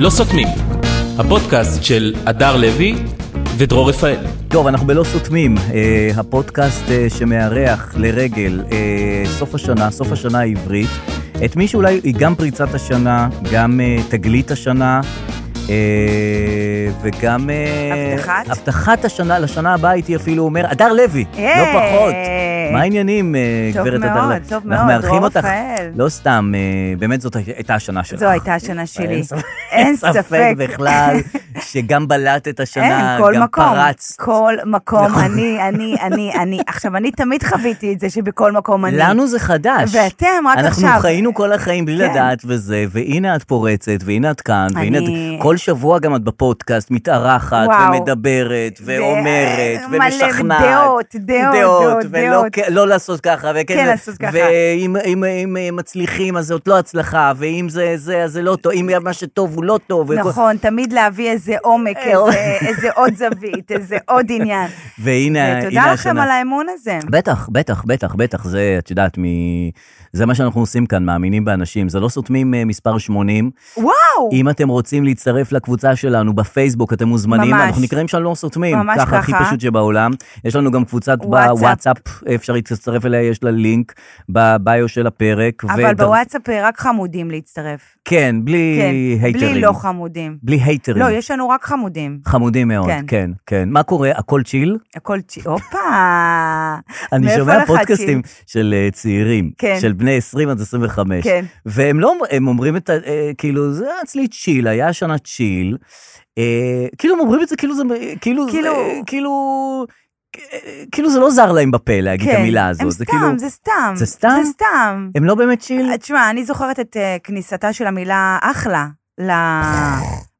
לא סותמים, הפודקאסט של הדר לוי ודרור רפאל. טוב, אנחנו בלא סותמים, אה, הפודקאסט אה, שמארח לרגל אה, סוף השנה, סוף השנה העברית, את מי שאולי היא גם פריצת השנה, גם אה, תגלית השנה, אה, וגם... אה, הבטחת? הבטחת השנה, לשנה הבאה הייתי אפילו אומר, הדר לוי, לא היי. פחות. מה העניינים, אה, טוב גברת הדר מאוד, לוי? טוב אנחנו מאוד, מארחים דרור אותך. רפאל. לא סתם, אה, באמת זאת הייתה השנה שלך. זו הייתה השנה שלי. ספק- אין ספק. בכלל שגם בלטת השנה, אין, כל גם מקום, פרצת. נכון. כל מקום, אני, אני, אני, אני. עכשיו, אני תמיד חוויתי את זה שבכל מקום אני. לנו זה חדש. ואתם רק אנחנו עכשיו. חיינו כל החיים בלי כן. לדעת וזה, והנה את פורצת, והנה את כאן, והנה אני- את... כל שבוע גם את בפודקאסט, מתארחת, וואו. אה, ומדברת, ואומרת, מלא ומשכנעת. דעות, דעות, דעות, ולא דעות. כ- לא לעשות ככה, וכן. כן, לעשות ככה. ואם אם- אם- אם מצליחים, אז זאת לא הצלחה, ואם זה זה, אז זה לא טוב, אם מה שטוב הוא לא טוב. וכל- נכון, תמיד להביא איזה עומק, אה, אוקיי. איזה- איזה עוד זווית, איזה עוד עניין. והנה, אה, הנה השנה. ותודה לכם על האמון הזה. בטח, בטח, בטח, בטח, זה, את יודעת, מ... זה מה שאנחנו עושים כאן, מאמינים באנשים. זה לא סותמים אה, מספר 80. וואו! אם אתם רוצים להצטרף לקבוצה שלנו בפייסבוק, אתם מוזמנים. ממש. אנחנו נקראים שם לא סותמים. ממש ככה. הכי ככה. פשוט שבעולם. יש לנו גם קבוצת וואטסאפ. בוואטסאפ, אפשר להצטרף אליה, יש לה לינק בביו של הפרק. אבל בוואטסאפ אה, רק חמודים להצטרף. כן, בלי כן, הייטרים. בלי לא חמודים. בלי הייטרים. לא, יש לנו רק חמודים. חמודים מאוד, כן. כן. כן, מה קורה? הכל צ'יל? הכל צ'י... הופה! אני מאיפה שומע לך פודקאסטים של אה, צעירים, כן. של בני 20 עד 25. כן. והם לא, הם אומרים את ה... אה, כאילו, זה היה אצלי צ'יל, היה השנה צ'יל. אה, כאילו, הם אומרים את זה כאילו זה... כאילו... זה- כאילו- אה, כאילו... אה, כאילו זה לא זר להם בפה להגיד את המילה הזאת. כן, הם זה סתם, כאילו... זה אה, סתם. זה סתם? זה סתם. הם לא באמת צ'יל? תשמע, אני זוכרת את אה, כניסתה של המילה אחלה ל...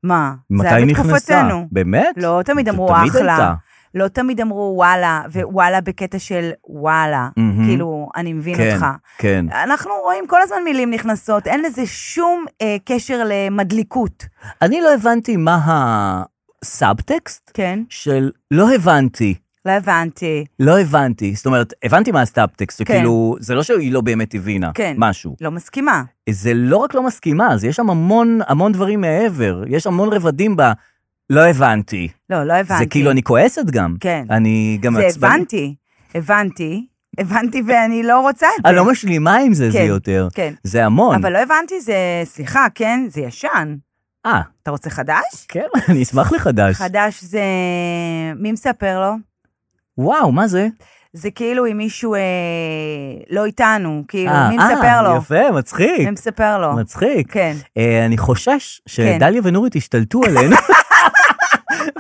מה? מתי זה היה היא נכנסה? בתקופתנו. באמת? לא תמיד זה אמרו תמיד הייתה. אחלה. לא תמיד אמרו וואלה, ווואלה בקטע של וואלה. מהמם. כאילו, אני מבין כן, אותך. כן. אנחנו רואים כל הזמן מילים נכנסות, אין לזה שום אה, קשר למדליקות, אני לא הבנתי מה הסאבטקסט כן? של לא הבנתי. לא הבנתי. לא הבנתי, זאת אומרת, הבנתי מה הסטאפטקסט, כן. כאילו, זה לא שהיא לא באמת הבינה כן. משהו. לא מסכימה. זה לא רק לא מסכימה, זה יש שם המון, המון דברים מעבר, יש המון רבדים ב... לא הבנתי. לא, לא הבנתי. זה כאילו, אני כועסת גם. כן. אני גם זה מעצבנית. הבנתי, הבנתי, הבנתי ואני לא רוצה את זה. אני לא נכון. משלימה עם זה, זה כן, יותר. כן. זה המון. אבל לא הבנתי זה, סליחה, כן, זה ישן. אה, אתה רוצה חדש? כן, אני אשמח לחדש. חדש זה... מי מספר לו? וואו, מה זה? זה כאילו אם מישהו אה, לא איתנו, כאילו, אה, מי מספר אה, לו? יפה, מצחיק. מי מספר לו? מצחיק. כן. אה, אני חושש שדליה ונורית ישתלטו עלינו.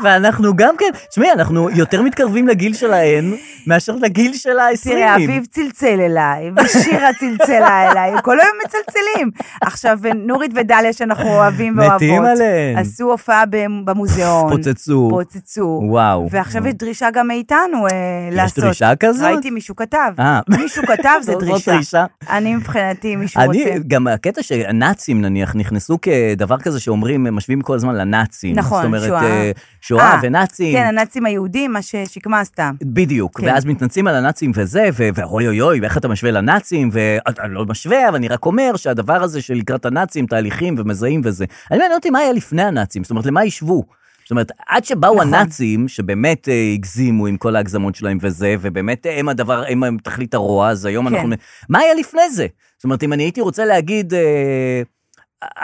ואנחנו גם כן, תשמעי, אנחנו יותר מתקרבים לגיל שלהן מאשר לגיל של תראה, ה-20. אביב צלצל אליי, ושירה צלצלה אליי, כל היום מצלצלים. עכשיו, נורית ודליה, שאנחנו אוהבים ואוהבות, מתים עליהן. עשו הופעה במ- במוזיאון. פוצצו. פוצצו. וואו. ועכשיו יש דרישה גם מאיתנו אה, לעשות. יש דרישה כזאת? ראיתי מישהו כתב. אה. מישהו כתב זה זאת דרישה. דרישה. אני מבחינתי, אם מישהו אני, רוצה. גם הקטע שהנאצים נניח נכנסו כדבר כזה שאומרים, הם משווים כל הזמן לנאצים. נכון, זאת אומרת, שואה. אה, שואה אה, ונאצים. כן, הנאצים היהודים, מה ששקמה עשתה. בדיוק, כן. כן. ואז מתנצלים על הנאצים וזה, ו- ואוי אוי אוי, איך אתה משווה לנאצים, ואני לא משווה, אבל אני רק אומר שהדבר הזה של לקראת הנאצים, תהליכים ומזהים וזה. אני מעניין אותי מה היה לפני הנאצים, זאת אומרת, למה השוו? זאת אומרת, עד שבאו נכון. נכון. הנאצים, שבאמת אה, הגזימו עם כל ההגזמות שלהם וזה, ובאמת אה, הם הדבר, הם, הם תכלית הרוע, אז היום כן. אנחנו... מה היה לפני זה? זאת אומרת, אם אני הייתי רוצה להגיד, אה,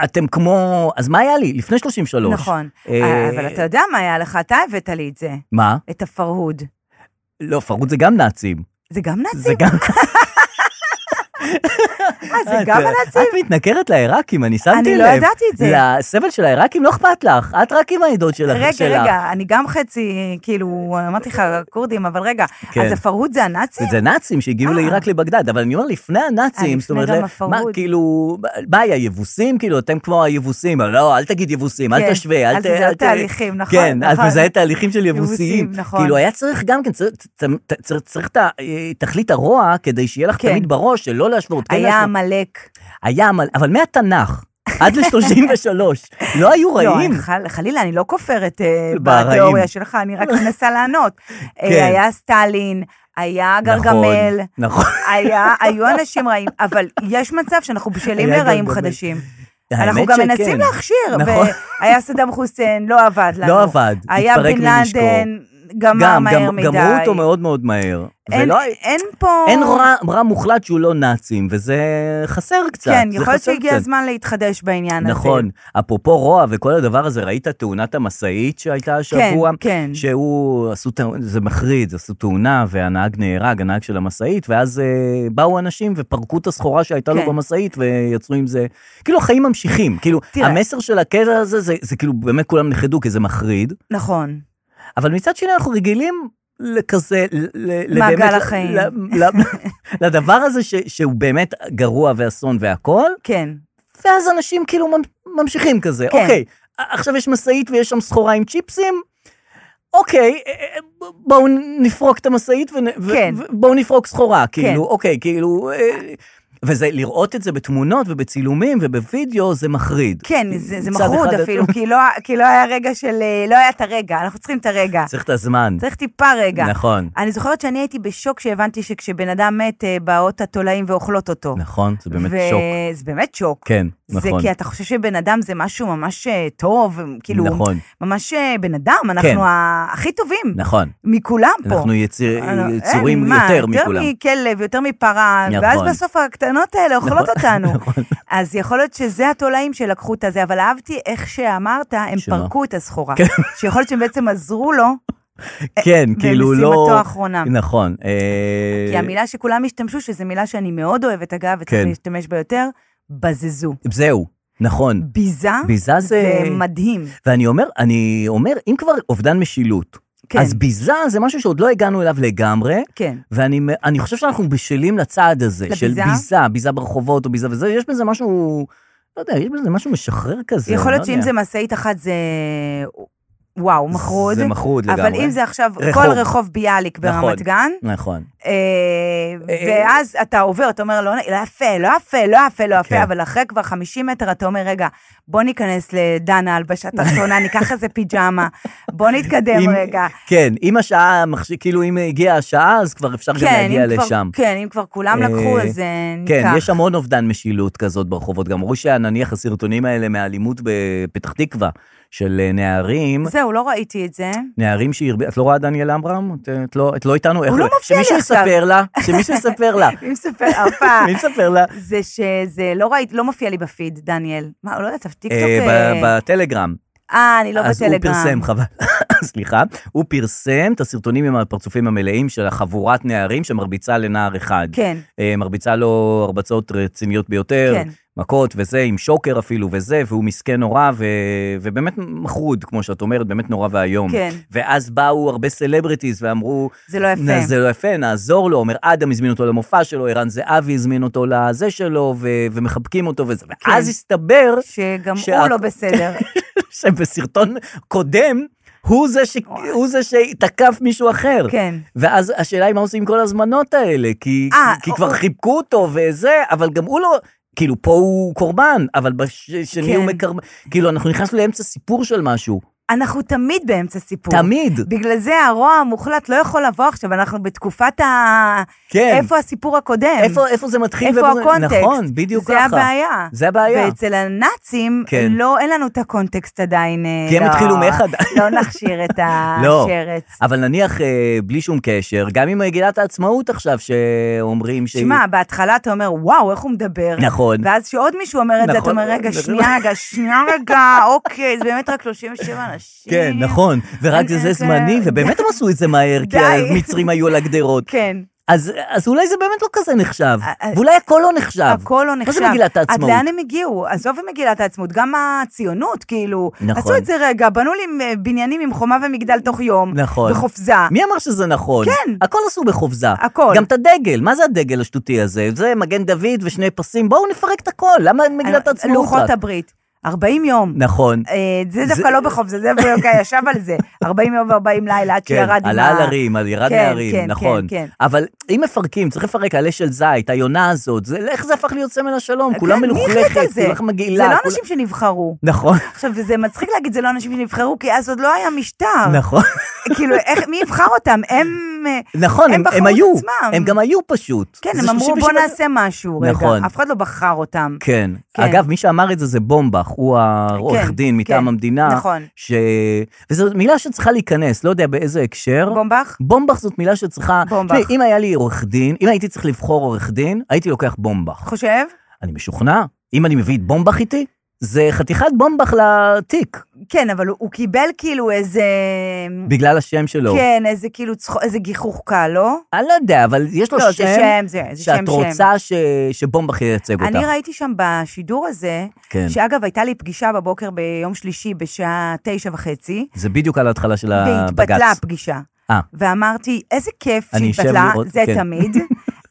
אתם כמו... אז מה היה לי? לפני 33. נכון. אה, אבל אתה יודע מה היה לך, אתה הבאת לי את זה, מה? את הפרהוד. לא, פרוד זה גם נאצים. זה גם זה נאצים? גם... אה, זה גם את- הנאצים? את מתנכרת לעיראקים, אני שמתי לב. אני לא ידעתי את זה. לסבל של העיראקים לא אכפת לך, את רק עם העדות שלך. רגע, שלך. רגע, אני גם חצי, כאילו, אמרתי לך, כורדים, אבל רגע, כן. אז הפרהוד זה הנאצים? זה נאצים שהגיעו אה. לעיראק לבגדד, אבל אני אומר לפני הנאצים, לפני זאת אומרת, גם זה- מה, הפרהוד. כאילו, מה היה, יבוסים? כאילו, אתם כמו היבוסים, אבל לא, אל תגיד יבוסים, אל כן, תשווה, אל ת- תזהה ת- תהליכים, נכון, כן, את נכון. מזהה תהליכים של יבוסיים. יבוסיים, נכון. כאילו, היה צריך גם כן, צריך- צריך- צריך- צריך את ה- אה, תכלית הרוע כדי שיהיה לך כן. תמיד בראש שלא להשוות, כן היה להשוות. עמלק. היה, אבל- אבל מהתנ"ך עד ל-33, לא היו רעים. לא, חל- חלילה, אני לא כופרת אה, ברעים. כן. בתיאוריה שלך, אני רק מנסה לענות. אה, היה סטלין, היה גרגמל, נכון. היה, היו אנשים רעים, אבל יש מצב שאנחנו בשלים היה לרעים גרגמל. חדשים. האמת אנחנו גם שכן. מנסים להכשיר. נכון. היה סדאם חוסיין, לא עבד לנו. לא עבד, היה התפרק בן מנשקו. לאדן, גמר גם, מהר גם, מדי. גמרו אותו מאוד מאוד מהר. אין- ולא- אין פה... אין רע, רע מוחלט שהוא לא נאצים, וזה חסר קצת. כן, זה יכול להיות חסר שהגיע קצת. הזמן להתחדש בעניין הזה. נכון. אפרופו רוע וכל הדבר הזה, ראית תאונת המשאית שהייתה השבוע? כן. שהוא, עשו, תא- זה מחריד, עשו תאונה, והנהג נהרג, הנהג של המשאית, ואז אה, באו אנשים ופרקו את הסחורה שהייתה כן. לו במשאית, ויצרו עם זה... כאילו, החיים ממשיכים. כאילו, תראה. המסר של הקטע הזה, זה, זה כאילו, באמת כולם נחרדו, כי זה מחריד, נכון. אבל מצד שני, אנחנו רגילים... לכזה, ל- ל- מעגל לבאמת- החיים. ל- ל- לדבר הזה ש, שהוא באמת גרוע ואסון והכל, כן. ואז אנשים כאילו ממ- ממשיכים כזה, כן. אוקיי, עכשיו יש משאית ויש שם סחורה עם צ'יפסים, אוקיי, אה, אה, ב- בואו נפרוק את המשאית ו- כן. ו- ובואו נפרוק סחורה, כאילו, כן. אוקיי, כאילו... אה, וזה, לראות את זה בתמונות ובצילומים ובווידאו זה מחריד. כן, זה, זה מצד מחרוד אחד- "אוקיי, אפילו, כי לא, כי לא היה רגע של... אה, לא היה את הרגע, אנחנו צריכים את הרגע. צריך את הזמן. צריך טיפה רגע. נכון, אני זוכרת שאני הייתי בשוק כשהבנתי שכשבן אדם מת, אה, באות התולעים ואוכלות אותו. נכון, זה באמת שוק. זה באמת שוק. כן, זה נכון. כי אתה חושב שבן אדם זה משהו ממש אה, טוב, כאילו, נכון, כן. ממש אה, בן אדם, אנחנו ה- הכי טובים נכון. מכולם פה. אנחנו יציר- אה, אין, יצורים מה, יותר מכולם. יותר מכלב, יותר מפרה, נכון. ואז בסוף הקטנות האלה אוכלות נכון, אותנו. נכון. אז יכול להיות שזה התולעים שלקחו את הזה, אבל אהבתי איך שאמרת, הם שמה? פרקו את הסחורה. כן. שיכול להיות שהם בעצם עזרו לו כן, כאילו לא... במשימתו האחרונה. נכון. אה, כי המילה שכולם השתמשו, שזו מילה שאני מאוד אוהבת, אגב, וצריך כן. להשתמש בה יותר, בזזו. זהו, נכון. ביזה, ביזה זה- זה מדהים. ואני אומר, אני אומר, אם כבר אובדן משילות, כן, כן. אז ביזה זה משהו שעוד לא הגענו אליו לגמרי, כן. ואני אני חושב שאנחנו בשלים לצעד הזה, לביזה? של ביזה, ביזה ברחובות או ביזה וזה, יש בזה משהו, לא יודע, יש בזה משהו משחרר כזה. יכול להיות לא שאם יודע. זה משאית אחת זה... וואו, מחרוד. זה מחרוד לגמרי. אבל אם זה עכשיו רחוב. כל רחוב ביאליק נכון. ברמת גן, נכון, אה, אה, ואז אתה עובר, אתה אומר, לא לא יפה, לא יפה, לא יפה, לא כן. יפה, אבל אחרי כבר 50 מטר אתה אומר, רגע, בוא ניכנס לדן ההלבשה התחתונה, ניקח איזה פיג'מה, בוא נתקדם אם- רגע. כן, אם השעה, מחש- כאילו אם הגיעה השעה, אז כבר אפשר גם כן, להגיע אם כבר- לשם. כן, אם כבר כולם אה, לקחו, אז אה, כן, יש ניקח. המון אובדן משילות כזאת ברחובות. גם אמרו שנניח הסרטונים האלה מהאלימות בפתח תקווה, של אה, נערים, זהו, לא ראיתי את זה. נערים שהרביצו, את לא רואה דניאל עמרם? את, את, לא, את לא איתנו? איך לא מופיע לי שמישהו עכשיו. יספר לה, שמישהו יספר לה. מי מספר, הופה. מי מספר לה? זה שזה לא ראית, לא מופיע לי בפיד, דניאל. מה, לא יודעת, טיקטוק... אה, אה, ב- בטלגרם. אה, אני לא אז הוא בטלגרם. פרסם, חבל. סליחה. הוא פרסם את הסרטונים עם הפרצופים המלאים של החבורת נערים שמרביצה לנער אחד. כן, אה, מרביצה לו הרבצות רציניות ביותר, כן. מכות וזה, עם שוקר אפילו וזה, והוא מסכן נורא, ו... ובאמת מחרוד, כמו שאת אומרת, באמת נורא ואיום. כן. ואז באו הרבה סלבריטיז ואמרו, זה לא נ- יפה. זה לא יפה, נעזור לו. אומר, אדם הזמין אותו למופע שלו, ערן זהבי הזמין אותו לזה שלו, ו- ומחבקים אותו וזה. כן. ואז הסתבר שגם הוא שאת- לא בסדר. שבסרטון קודם, הוא זה, ש... הוא זה שתקף מישהו אחר. כן. ואז השאלה היא מה עושים עם כל הזמנות האלה, כי, אה, כי או- כבר או- חיבקו אותו וזה, אבל גם הוא לא, כאילו, פה הוא קורבן, אבל בשני כן. הוא מקרבן, כאילו, אנחנו נכנסנו לאמצע סיפור של משהו, אנחנו תמיד באמצע סיפור. תמיד, בגלל זה הרוע המוחלט לא יכול לבוא עכשיו, אנחנו בתקופת ה... כן. איפה הסיפור הקודם? איפה, איפה זה מתחיל? איפה ואיפה זה- הקונטקסט? נכון, בדיוק זה ככה. הבעיה. זה הבעיה. ואצל הנאצים, כן. לא, אין לנו את הקונטקסט עדיין. אה, כי הם לא, התחילו מחדש. לא נכשיר את לא, השרץ. אבל נניח אה, בלי שום קשר, גם עם מגילת העצמאות עכשיו שאומרים ש... שמע, בהתחלה אתה אומר, וואו, איך הוא מדבר. נכון. ואז שעוד מישהו אומר את זה, אתה נכון. אומר, רגע, נכון. שנייה, רגע, שנייה, רגע, אוקיי, זה באמת רק 37 אנשים. כן, נכון, ורק אני- זה זה- זמני, ובאמת הם עשו את זה מהר, כי אוקיי, די. המצרים היו על הגדרות. כן. אז, אז אולי זה באמת לא כזה נחשב, א- א- ואולי הכל לא נחשב. הכל לא נחשב. מה זה מגילת העצמאות? עד לאן הם הגיעו? עזוב את מגילת העצמאות, גם הציונות, כאילו. נכון. עשו את זה רגע, בנו לי אה, בניינים עם חומה ומגדל תוך יום. נכון. בחופזה. מי אמר שזה נכון? כן. הכל עשו בחופזה. הכל. גם את הדגל, מה זה הדגל השטותי הזה? זה מגן דוד ושני פסים, בואו נפרק את הכל, למה אין מגילת העצמאות? אה, לוחות רק? הברית. 40 יום. נכון. אה, זה זה- דווקא לא בחוב, זה זאב בויוקה ישב על זה. 40 יום ו-40 לילה, עד שירד עם ה... עלה כן, על הרים, על ירד כן, מהרים, כן, נכון. כן, כן. אבל אם מפרקים, צריך לפרק עלה של זית, היונה הזאת, זה, איך זה הפך להיות סמל השלום? כולה כן, מי החליט על מלוכלכת, זה? כולה מגעילה. זה לא כולה- אנשים שנבחרו. נכון, עכשיו, זה מצחיק להגיד, זה לא אנשים שנבחרו, כי אז עוד לא היה משטר. נכון, כאילו, איך, מי יבחר אותם? הם... אה, נכון, הם הם, בחרו הם את היו, עצמם. הם גם היו פשוט. כן, זה הם אמרו, 37 בוא נעשה משהו. נכון. רגע, אף אחד לא בחר אותם. כן. כן. אגב, מי שאמר את זה זה בומבך, הוא העורך כן, דין מטעם כן, המדינה. נכון. ש... וזו מילה שצריכה להיכנס, לא יודע באיזה הקשר. בומבך? בומבך זאת מילה שצריכה... בומבך. תשמעי, אם היה לי עורך דין, אם הייתי צריך לבחור עורך דין, הייתי לוקח בומבך. חושב? אני משוכנע, אם אני מביא את בומבך איתי, זה חתיכת בומבך לתיק, כן, אבל הוא הוא קיבל כאילו איזה... בגלל השם שלו. כן, איזה כאילו צחוק, איזה גיחוך קל, לא? אני לא יודע, אבל יש לו לא, זה שם שם, זה זה שם, שם. שאת רוצה ש... שבומבך ייצג אותך. אני ראיתי שם בשידור הזה, כן. שאגב, הייתה לי פגישה בבוקר ביום שלישי בשעה תשע וחצי, זה בדיוק על ההתחלה של הבג"ץ. והתבטלה הפגישה. אה. ואמרתי, איזה כיף אני אשב שהתבטלה, לראות, זה כן. תמיד,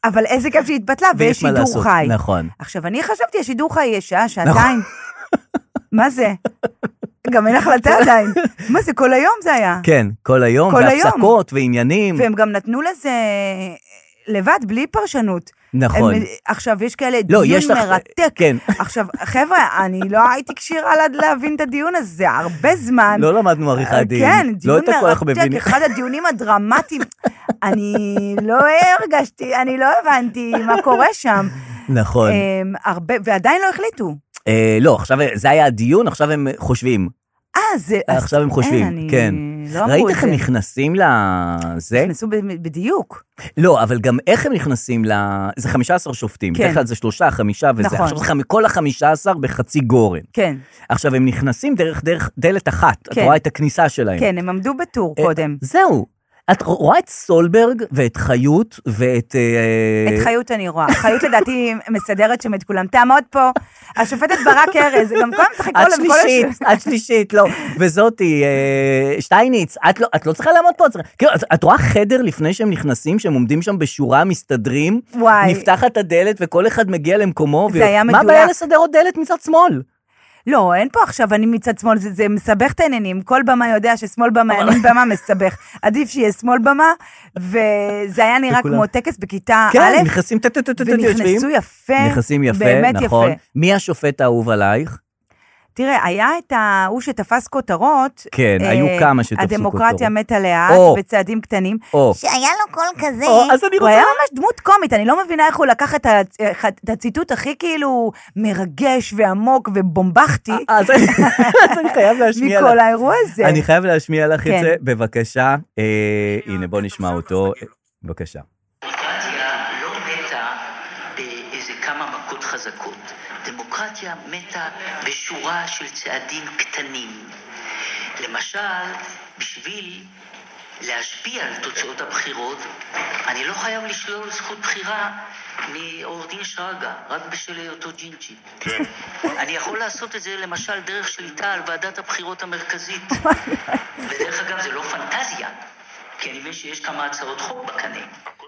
אבל איזה כיף שהתבטלה, ויש מה שידור לעשות, חי. נכון. עכשיו, אני חשבתי, השידור חי יהיה שעה, שעתיים. מה זה? גם אין החלטה עדיין. מה זה, כל היום זה היה. כן, כל היום, כל היום. והפסקות ועניינים. והם גם נתנו לזה לבד, בלי פרשנות. נכון. הם, עכשיו, יש כאלה לא, דיון יש לך... מרתק. כן. עכשיו, חבר'ה, אני לא הייתי כשירה לה- להבין את הדיון הזה, זה הרבה זמן. לא למדנו עריכת דין. כן, לא דיון את הכל אנחנו מרתק, מבינים. אחד הדיונים הדרמטיים. אני לא הרגשתי, אני לא הבנתי מה קורה שם. נכון. אמ, הרבה, ועדיין לא החליטו. אה, לא, עכשיו זה היה הדיון, עכשיו הם חושבים. אה, זה... אז עכשיו הם חושבים, אני- כן. לא אמרו ראית את איך זה. הם נכנסים לזה? נכנסו ב- בדיוק. לא, אבל גם איך הם נכנסים ל... זה 15 שופטים, כן. בדרך כלל זה שלושה, חמישה וזה. נכון. עכשיו זה חמ- כל ה-15 בחצי גורן. כן, עכשיו, עכשיו, הם נכנסים דרך, דרך דלת אחת, את כן. רואה את הכניסה שלהם. כן, הם עמדו בטור אה, קודם. זהו. את רואה את סולברג ואת חיות ואת... אה, את חיות אני רואה. חיות לדעתי מסדרת שם את כולם. תעמוד פה. השופטת ברק ארז, גם כל הזמן צריך לקרוא את להם כל שלישית, את שלישית, לא. וזאתי, אה, שטייניץ, את לא, את לא צריכה לעמוד פה. את צריכה- כאילו, את, את רואה חדר לפני שהם נכנסים, שהם עומדים שם בשורה, מסתדרים, וואי. נפתחת הדלת וכל אחד מגיע למקומו. זה היה מה הבעיה מדויק. לסדר עוד דלת מצד שמאל? לא, אין פה עכשיו אני מצד שמאל, זה, זה מסבך את העניינים. כל במה יודע ששמאל במה, ימין במה מסבך. עדיף שיהיה שמאל במה, וזה היה נראה וכולם- כמו טקס בכיתה כן, אה, א', נכנסים, טה, טה, טה, טה, טה, יושבים. ונכנסו יפה. נכנסים יפה, באמת נכון. יפה. מי השופט האהוב עלייך? תראה, היה את ההוא שתפס כותרות. כן, היו אה, כמה שתפסו הדמוקרטיה כותרות. מתה לאט, או. בצעדים קטנים. או, שהיה לו קול כזה, או, אז אני רוצה... הוא היה ממש דמות קומית, אני לא מבינה איך הוא לקח את ה- את הציטוט הכי כאילו מרגש ועמוק ובומבכטי אז אז אני חייב להשמיע לך. מכל האירוע הזה. אה, אני חייב להשמיע לך את כן. זה, בבקשה. אה, הנה, בוא נשמע אותו. אה, בבקשה. דמוקרטיה לא מתה באיזה כמה מכות חזקות. דמוקרטיה מתה בשורה של צעדים קטנים. למשל, בשביל להשפיע על תוצאות הבחירות, אני לא חייב לשלול זכות בחירה מעורך דין שרגא, רק בשל היותו ג'ינג'י. אני יכול לעשות את זה למשל דרך שליטה על ועדת הבחירות המרכזית. ודרך אגב, זה לא פנטזיה, כי אני מבין שיש כמה הצעות חוק בקנה.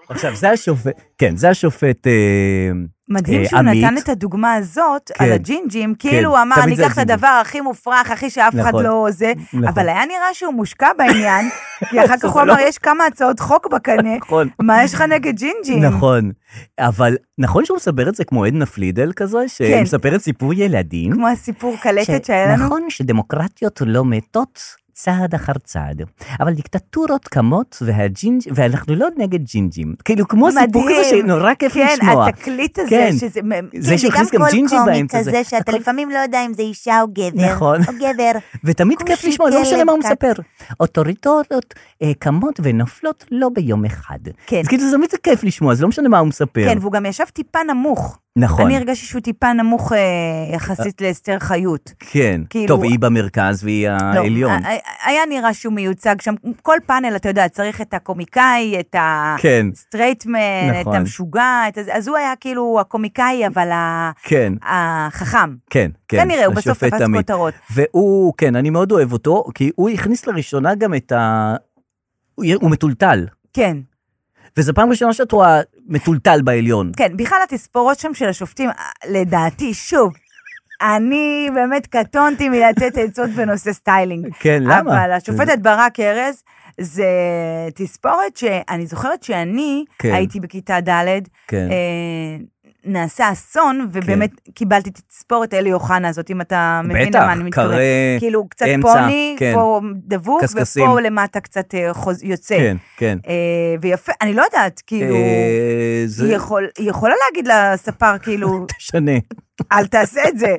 עכשיו, זה השופט, כן, זה השופט... אה, מדהים אה, שהוא עמית. נתן את הדוגמה הזאת כן. על הג'ינג'ים, כאילו הוא אמר, תמיד אני זה אקח את הג'ינג'ים. הדבר הכי מופרך, הכי שאף אחד נכון. לא זה, נכון. אבל היה נראה שהוא מושקע בעניין, כי אחר כך זה הוא לא- אמר, יש כמה הצעות חוק בקנה, נכון. מה יש לך נגד ג'ינג'ים? נכון, אבל נכון שהוא מספר את זה כמו עדנה פלידל כזה, כן. שמספרת סיפור ילדים? כמו הסיפור קלטת ש- שהיה לנו. נכון שדמוקרטיות לא מתות צעד אחר צעד, אבל דיקטטורות קמות והג'ינג' ואנחנו לא נגד ג'ינג'ים. כאילו כמו סיפור מדהים. כזה שנורא כיף כן, לשמוע. התקליט הזה, כן. שזה... זה שהכניס גם ג'ינג'י באמצע כזה שאתה לפעמים לא יודע אם זה אישה או גבר. נכון. או גבר. ותמיד כמו כיף לשמוע, לא שכלב משנה מה הוא קט. מספר. אוטוריטוריות אה, קמות ונופלות לא ביום אחד. כן. אז כאילו זה תמיד זה כיף לשמוע, זה לא משנה מה הוא מספר. כן, והוא גם ישב טיפה נמוך. נכון. אני הרגשתי שהוא טיפה נמוך אה, יחסית לאסתר חיות. כן. כאילו- טוב, היא במרכז והיא לא, העליון. ה- ה- היה נראה שהוא מיוצג שם. כל פאנל, אתה יודע, צריך את הקומיקאי, את כן, הסטרייטמן, את נכון. המשוגע, את הזה. אז הוא היה כאילו הקומיקאי, אבל ה- כן, החכם. כן, כן. כנראה, הוא בסוף השופט תפס עמית. כותרות. והוא, כן, אני מאוד אוהב אותו, כי הוא הכניס לראשונה גם את ה... הוא יהיה- הוא מטולטל. כן, וזו פעם ראשונה שאת רואה מטולטל בעליון. כן. בכלל התספורות שם של השופטים, אה, לדעתי, שוב, אני באמת קטונתי מלתת עצות בנושא סטיילינג. כן, למה? אבל השופטת ברק ארז, זה תספורת שאני זוכרת שאני כן. הייתי בכיתה ד', כן. אה, נעשה אסון, ובאמת קיבלתי תספורת אלי אוחנה הזאת, אם אתה מבין בטח, למה אני מתכוונת. קרא, כאילו, קצת אמצע, פוני, כן. פה דבוק, קשקשים. ופה למטה קצת אה, חוז- יוצא. כן, כן. אה, ויפה, אני לא יודעת, כאילו, אה, זה היא יכול- היא יכולה להגיד לספר, כאילו, תשנה. אל תעשה את זה.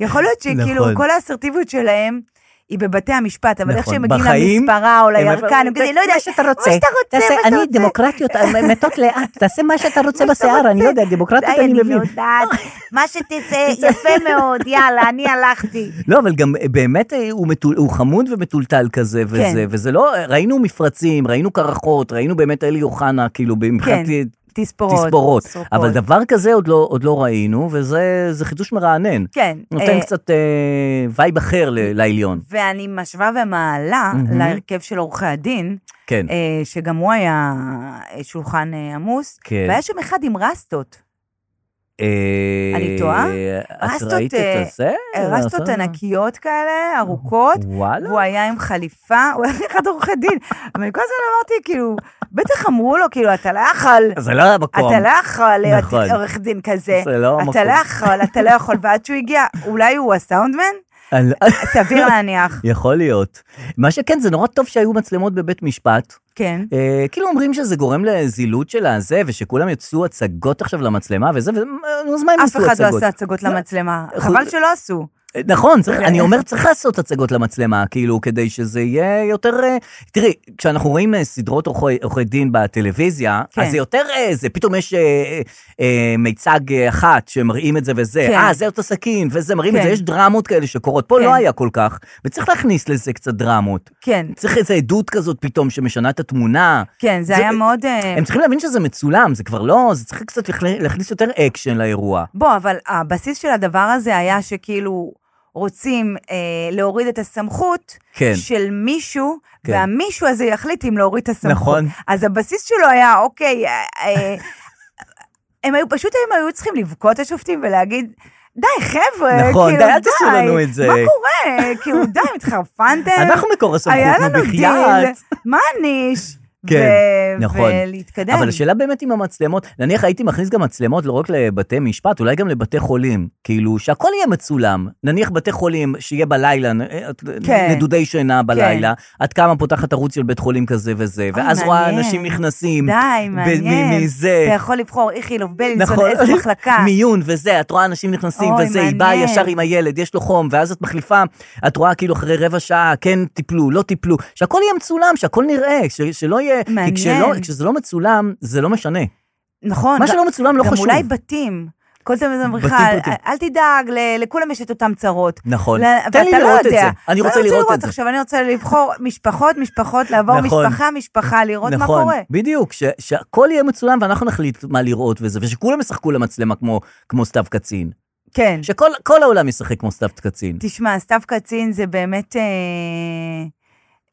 יכול להיות שכאילו נכון. כל האסרטיביות שלהם היא בבתי המשפט, אבל איך נכון. שהם מגיעים בחיים, למספרה או הם- לירקן, הם כזה, לא יודע, מה שאתה רוצה. מה שאתה רוצה, תעשה- מה שאתה אני רוצה. דמוקרטיות אה, מתות לאט, תעשה מה שאתה רוצה מה שאתה בשיער, אני לא רוצה. יודע, דמוקרטיות די, אני מבין. לא יודעת. מה שתצא יפה מאוד, יאללה, אני הלכתי. לא, אבל גם אה, באמת אה, הוא, מטול, הוא חמוד ומטולטל כזה, וזה, כן. וזה לא, ראינו מפרצים, ראינו קרחות, ראינו באמת אלי אוחנה, כאילו, מבחינת כן, תספורות. תספורות, סרוקות. אבל דבר כזה עוד לא, עוד לא ראינו, וזה זה חידוש מרענן. כן. נותן אה, קצת אה, וייב אחר ל- לעליון. ואני משווה ומעלה מהמם. להרכב של עורכי הדין, כן. אה, שגם הוא היה אה, שולחן אה, עמוס, כן. והיה שם אחד עם רסטות. אה, אני טועה? את רסטות, ראית אה, את זה? אה, רסטות אתה- ענקיות כאלה, ארוכות, וואלה. והוא היה עם חליפה, הוא היה אחד עורכי דין. אבל אני כל הזמן אמרתי, כאילו, בטח אמרו לו, כאילו, אתה לא יכול, זה לא המקום. אתה לא יכול להיות נכון. עורך דין כזה. זה לא המקום. אתה לא יכול, אתה לא יכול. ועד שהוא הגיע, אולי הוא הסאונדמן? על- סביר להניח. יכול להיות. מה שכן, זה נורא טוב שהיו מצלמות בבית משפט. כן. אה, כאילו אומרים שזה גורם לזילות של הזה, ושכולם יצאו הצגות עכשיו למצלמה וזה, ונו, אז מה הם אף עשו אחד הצגות? לא עשה הצגות למצלמה. חבל שלא עשו. נכון, צריך, אוקיי. אני אומר, צריך לעשות הצגות למצלמה, כאילו, כדי שזה יהיה יותר... אה, תראי, כשאנחנו רואים אה, סדרות עורכי עורכי דין בטלוויזיה, כן. אז זה יותר אה, זה, פתאום יש אה, אה, אה, מיצג אה, אחת שמראים את זה וזה, כן. אה, זה אותו סכין, וזה, מראים את כן. זה, יש דרמות כאלה שקורות, פה כן. לא היה כל כך, וצריך להכניס לזה קצת דרמות. כן, צריך איזו עדות כזאת פתאום שמשנה את התמונה. כן, זה זה- היה מאוד... אה, הם צריכים להבין שזה מצולם, זה כבר לא, זה צריך קצת להכלה- להכניס יותר אקשן לאירוע. בוא, אבל הבסיס של הדבר הזה היה שכאילו רוצים אה, להוריד את הסמכות כן. של מישהו, כן. כן. והמישהו הזה יחליט אם להוריד את הסמכות. נכון. אז הבסיס שלו היה, אוקיי, אה, אה, הם היו, פשוט הם היו צריכים לבכות את השופטים ולהגיד, די, חבר'ה, נכון, כאילו, די, אל תעשו לנו את זה." מה קורה? כאילו, די, התחרפנתם? אנחנו מקור הסמכות, כן. היה נו, לנו דיל, בחייאת. מה הניש? כן, ו- נכון. ולהתקדם. אבל השאלה באמת עם המצלמות, נניח הייתי מכניס גם מצלמות לא רק לבתי משפט, אולי גם לבתי חולים, כאילו שהכל יהיה מצולם. נניח בתי חולים שיהיה בלילה, נ- אה, את- כן. נדודי שינה בלילה, את קמה פותחת ערוץ של בית חולים כזה וזה, אוי, ואז רואה מעניין. אנשים נכנסים. די, ב- מעניין. מזה. אתה יכול לבחור איכילוב בלינסון, נכון, איזה מחלקה. מיון וזה, את רואה אנשים נכנסים אוי, וזה, היא באה מעניין. ישר עם הילד, יש לו חום, ואז את מחליפה, את רואה כאילו אחרי רבע שעה, כן טיפלו, לא טיפלו, שהכל יהיה מצולם, שהכל נראה, ש- שלא יהיה, כי מעניין. כשלא, כשזה לא מצולם, זה לא משנה. נכון. מה ג- שלא מצולם לא גם חשוב. אולי בתים. כל הזמן אומרים לך, בתים פרטיים. אל תדאג, ל- לכולם יש את אותם צרות. נכון. ל- תן לי ואתה לא לראות את יודע. זה. אני רוצה לראות את זה. עכשיו, אני רוצה לבחור משפחות, משפחות, לעבור נכון. משפחה, משפחה, לראות מה נכון, קורה. בדיוק, ש- שהכל יהיה מצולם ואנחנו נחליט מה לראות וזה, ושכולם ישחקו למצלמה כמו, כמו סתיו קצין. כן. שכל כל העולם ישחק כמו סתיו קצין. תשמע, סתיו קצין זה באמת... אה,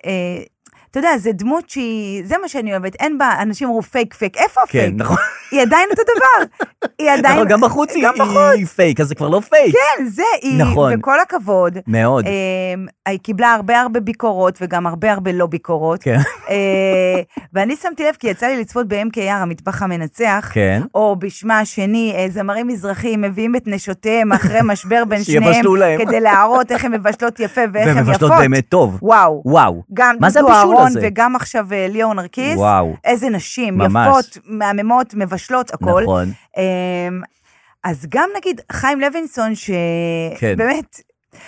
אה, אתה יודע, זה דמות שהיא, זה מה שאני אוהבת, אין בה, אנשים אמרו פייק פייק, איפה הפייק? כן, נכון, היא עדיין אותו דבר. היא עדיין... נכון, גם בחוץ היא גם בחוץ. היא פייק, אז זה כבר לא פייק. כן, זה היא, נכון. וכל הכבוד. מאוד. אמ, היא קיבלה הרבה הרבה ביקורות, וגם הרבה הרבה לא ביקורות. כן. אה, ואני שמתי לב, כי יצא לי לצפות ב-MKR, המטבח המנצח. כן. או בשמה השני, אה, זמרים מזרחים מביאים את נשותיהם אחרי משבר בין שניהם, שיבשלו להם. כדי להראות איך הן מבשלות יפה ואיך והן הן יפות. מבשלות באמת טוב. וואו. וואו. גם מה זה דודו הבישול אהרון הזה? וגם עכשיו אה, ליאור נרקיס. וואו. איזה נשים, ממש. יפות, מהממות, מבשלות, הכל. נכון. אמ, אז גם נגיד חיים לוינסון, כן. שבאמת,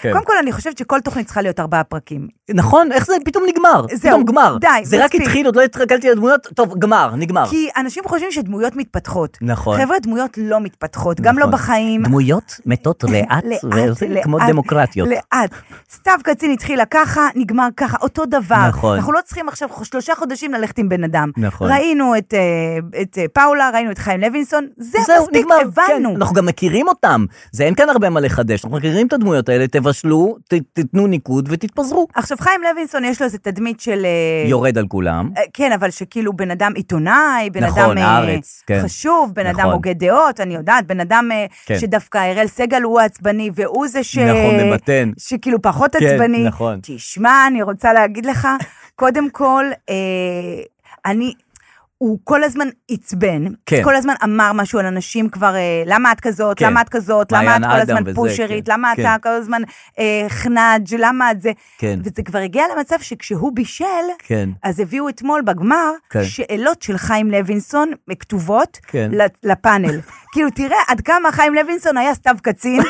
כן. קודם כל אני חושבת שכל תוכנית צריכה להיות ארבעה פרקים. נכון, איך זה פתאום נגמר? זהו, פתאום גמר. די, זה רק מספיק. התחיל, עוד לא התרגלתי לדמויות, טוב, גמר, נגמר. כי אנשים חושבים שדמויות מתפתחות. אה. נכון. חבר'ה, דמויות לא מתפתחות, גם לא נכון. בחיים. דמויות מתות לאט, לאט, וזה לאט, כמו דמוקרטיות. לאט. סתיו קצין התחילה ככה, נגמר ככה, אותו דבר. נכון. אנחנו לא צריכים עכשיו שלושה חודשים ללכת עם בן אדם. נכון. ראינו את, אה, את אה, פאולה, ראינו את חיים לוינסון, זהו, זהו, מספיק, נגמר, הבנו. כן, אנחנו גם מכירים אותם, זה אין כאן הרבה מה לחדש, אנחנו מכירים את הדמויות האלה, תבשלו, ת- תיתנו ניקוד ותתפזרו. עכשיו, חיים לוינסון יש לו איזה תדמית של... אה, יורד על כולם. אה, כן, אבל שכאילו בן אדם עיתונאי, בן נכון, אדם אה, הארץ, כן. חשוב, בן אדם נכון. הוגה דעות, אני יודעת, בן אדם אה, כן. שדווקא אראל סגל הוא העצבני, והוא זה ש... נכון, ממתן. שכאילו פחות כן, עצבני. נכון. תשמע, אני רוצה להגיד לך, קודם כל, אה, אני... הוא כל הזמן עצבן, כן. כל הזמן אמר משהו על אנשים כבר, אה, למה את כזאת, כן. למה את כזאת, למה את מעיין כל אדם הזמן וזה, פושרית, כן, למה כן. אתה כל הזמן אה, חנאג', למה את זה. כן. וזה כבר הגיע למצב שכשהוא בישל, כן. אז הביאו אתמול בגמר כן. כן. שאלות של חיים לוינסון כתובות כן. כן. לפאנל. כאילו, תראה עד כמה חיים לוינסון היה סתיו קצין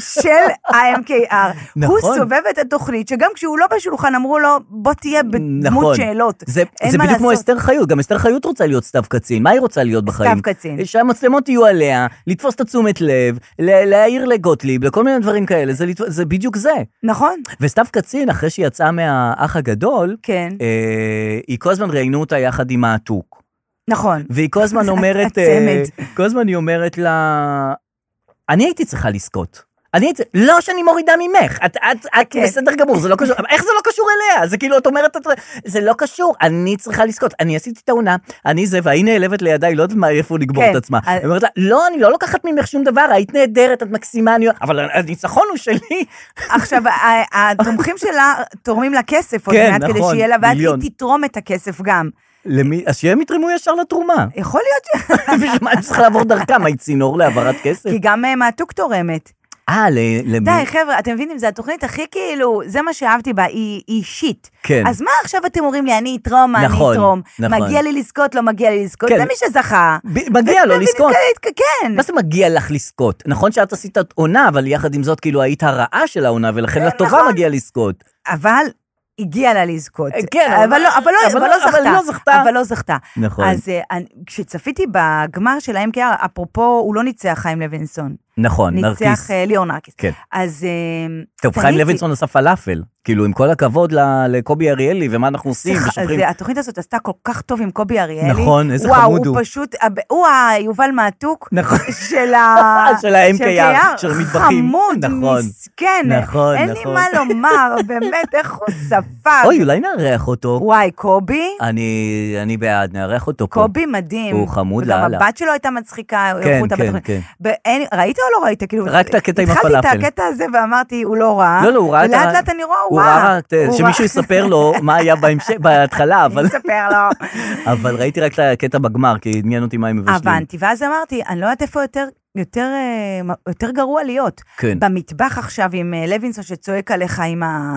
של ה-MKR. נכון. הוא סובב את התוכנית, שגם כשהוא לא בשולחן אמרו לו, בוא תהיה בדמות נכון. שאלות. זה, אין זה מה בדיוק כמו לעשות. אסתר חיות, גם אסתר חיות רוצה להיות סתיו קצין, מה היא רוצה להיות בחיים? קצין. שהמצלמות יהיו עליה, לתפוס את התשומת לב, ל- להעיר לגוטליב, לכל מיני דברים כאלה, זה, לתפ... זה בדיוק זה. נכון, וסתיו קצין, אחרי שהיא יצאה מהאח הגדול, כן, אה, היא כל הזמן ראיינו אותה יחד עם העתוק. נכון. והיא כל הזמן אומרת, הצמד. אה, כל הזמן היא אומרת לה, אני הייתי צריכה לזכות. אני הייתי, לא שאני מורידה ממך, את, את, את כן. בסדר גמור, זה לא קשור, אבל איך זה לא קשור אליה? זה כאילו, את אומרת, את, זה לא קשור, אני צריכה לזכות, אני עשיתי את העונה, אני זה, והיא נעלבת לידיי, היא לא יודעת מה, איפה לגמור כן. את עצמה. אה, היא אומרת לה, לא, אני לא לוקחת ממך שום דבר, היית נהדרת, את מקסימה, אני... אבל הניצחון הוא שלי. עכשיו, ה- התומכים שלה תורמים לה כסף עוד כן, מעט, כדי נכון, שיהיה לה, ואז מיליון. היא תתרום את הכסף גם. למי, אז שהם יתרמו ישר לתרומה. יכול להיות ש... בשביל מה אני צריכה לעבור דרכם, היית צינור להעברת כסף? כי גם אה, מעתוק תורמת. אה, ל- למי? די, חבר'ה, אתם מבינים, זו התוכנית הכי כאילו, זה מה שאהבתי בה, היא היא אישית. כן. אז מה עכשיו אתם אומרים לי, אני אתרום, מה אני נכון, אתרום? נכון. מגיע לי לזכות, לא מגיע לי לזכות? כן. זה מי שזכה. ב- מגיע לו ובדיוק לזכות. כ- כן. מה זה מגיע לך לזכות? נכון שאת עשית את עונה, אבל יחד עם זאת, כאילו, היית הרעה של העונה, ולכן לטובה נכון. מגיע לזכות. אבל הגיע לה לזכות. אה, כן, אבל לא- אבל לא- אבל לא זכתה. אבל לא זכתה. אבל לא זכתה. נכון. אז אה, אני- כשצפיתי בגמר של ה-MKR, אפרופו, הוא לא ניצח חיים לוינסון. נכון, נרקיס. ניצח אה, ליאור נרקיס. כן. אז אה, טוב, חיים תהיתי, לוינסון עשה פלאפל. כאילו, עם כל הכבוד ל- לקובי אריאלי, ומה אנחנו עושים, סליחה, ושופכים... זה- התוכנית הזאת עשתה כל כך טוב עם קובי אריאלי. נכון, איזה חמוד וואו, הוא. הוא פשוט, הב- הוא היובל מעתוק נכון. של ה... של ה- MKR, של המטבחים. חמוד, נכון. מסכן. נכון, אין נכון. לי מה לומר, באמת, איך הוא ספג. אוי, לא- אולי נארח אותו. וואי, קובי? אני אני בעד, נארח אותו פה. קובי מדהים. הוא חמוד וגם לאללה. הבת שלו הייתה מצחיקה, כן, אירחו אותה כן, בתוכנית. כן. ואין- ראית או לא ראית? כאילו, רק את הקטע עם הפלאפל. התחלתי את הקטע הזה ואמרתי, הוא לא רע. לא, לא, הוא ראה את ה... ולאט לאט אני רואה, הוא הוא רע. ראה, רק, אה, הוא שמישהו רע. יספר לו מה היה בהמשך, בהתחלה, אבל... אני אספר לו. אבל ראיתי רק את הקטע בגמר, כי עניין אותי מה הם מבשלים. הבנתי, ואז אמרתי, אני לא יודעת איפה יותר... יותר, אה, מ- יותר גרוע להיות. כן. במטבח עכשיו עם אה, לוינסון שצועק עליך עם, ה...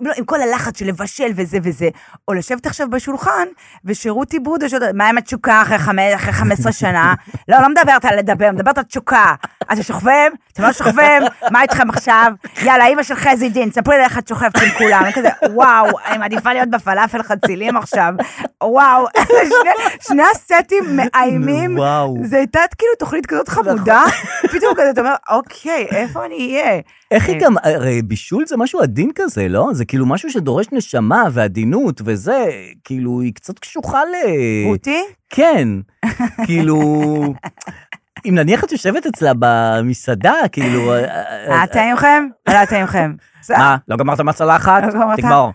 לא, עם כל הלחץ של לבשל וזה וזה, או לשבת עכשיו בשולחן ושירותי ברודו, שאתה- מה עם התשוקה אחרי חמש- אחרי 15 שנה? לא, לא מדברת על לדבר, מדברת על תשוקה. אתם שוכבים? אתם לא שוכבים? מה איתכם עכשיו? יאללה, אימא של חזי דין, ספרי לי איך את שוכבת עם כולם. אני כזה, וואו, אני מעדיפה להיות בפלאפל חצילים עכשיו. וואו, שני, שני הסטים מאיימים. וואו. נכון. זה הייתה כאילו תוכנית כזאת חמודה, פתאום כזה אתה אומר, אוקיי, איפה אני אה, אהיה? איך היא גם, הרי בישול זה משהו עדין כזה, לא? זה כאילו משהו שדורש נשמה ועדינות וזה, כאילו, היא קצת קשוחה ל... רותי? כן, כאילו... אם נניח את יושבת אצלה במסעדה, כאילו... אה, אה, היה טעימכם? היה טעימכם. זה- מה, לא גמרת מהצלחת? לא גמרת? תגמור.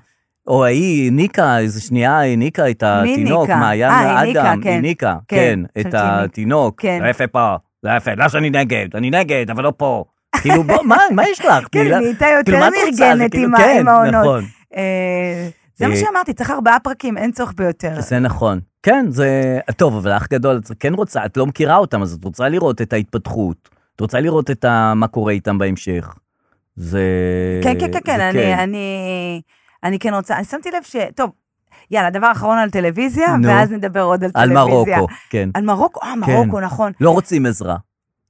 או ההיא הניקה, איזה שנייה הניקה את מי התינוק, הניקה? מעיין אה, הניקה, אדם, כן. הניקה, כן, כן, את חשבתי מי. התינוק. כן. לא יפה פה, לא יפה, לא שאני נגד, אני נגד, אבל לא פה. כאילו, בוא, מה, מה יש לך? כן, מילה- נהייתה כאילו, יותר מה את רוצה? זה מארגנת כאילו, עם ה- כן, עם העונות. נכון. אה, זה מה אה, שאמרתי, צריך ארבעה פרקים, אין צורך ביותר. זה נכון. כן, זה... טוב, אבל אח גדול, את כן רוצה, את לא מכירה אותם, אז את רוצה לראות את ההתפתחות. את רוצה לראות את ה... מה קורה איתם בהמשך. זה... כן, כן, כן, אה, זה כן, אני- אני- אני כן רוצה, אני שמתי לב ש... טוב, יאללה, דבר אחרון על טלוויזיה, נו. ואז נדבר עוד על על טלוויזיה. מרוקו, כן. על מרוקו, אה, מרוקו, נכון. לא רוצים עזרה.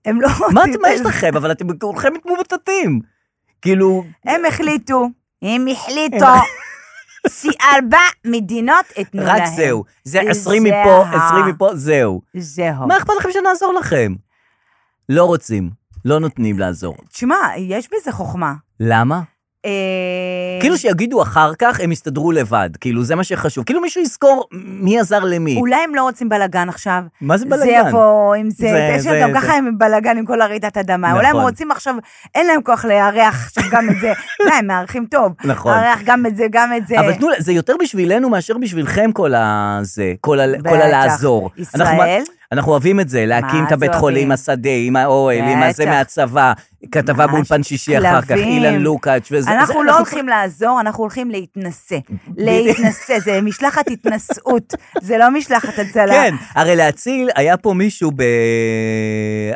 הם לא מה רוצים אתם, מה יש טלוויזיה. לכם? אבל אתם כולכם מתמוטטים. כאילו, הם החליטו, הם החליטו, שארבע מדינות ייתנו לא להם. רק זהו. זה זה 20 מפה, ה- 20 מפה, זהו. זהו. מה אכפת לכם שנעזור לכם? לא רוצים, לא נותנים לעזור. תשמע, יש בזה חוכמה. למה? אה, כאילו שיגידו אחר כך, הם יסתדרו לבד. כאילו, זה מה שחשוב. כאילו מישהו יזכור מי עזר למי. אולי הם לא רוצים בלאגן עכשיו. מה זה זה בלאגן? יבוא עם זה, זה- יש זה- להם גם זה- ככה הם בלאגן עם כל הרעידת אדמה. אולי הם נכון. רוצים עכשיו, אין להם כוח לארח עכשיו גם את זה. לא, הם מארחים טוב. נכון. לארח גם את זה, גם את זה. אבל תנו, לה- זה יותר בשבילנו מאשר בשבילכם כל הזה, כל, ה- כל בטח. הלעזור. ישראל? אנחנו, אנחנו אוהבים את זה, להקים מה את הבית זה חולים, אוהבים? השדה, עם האוהל, עם הזה בטח. מהצבא, כתבה ממש. באולפן שישי אחר כך, כלבים. אילן לוקאץ' וזה. אנחנו זה- לא הולכים לעזור, אנחנו הולכים להתנשא. להתנשא, זה משלחת התנשאות, זה לא משלחת הצלה. כן, הרי להציל, היה פה מישהו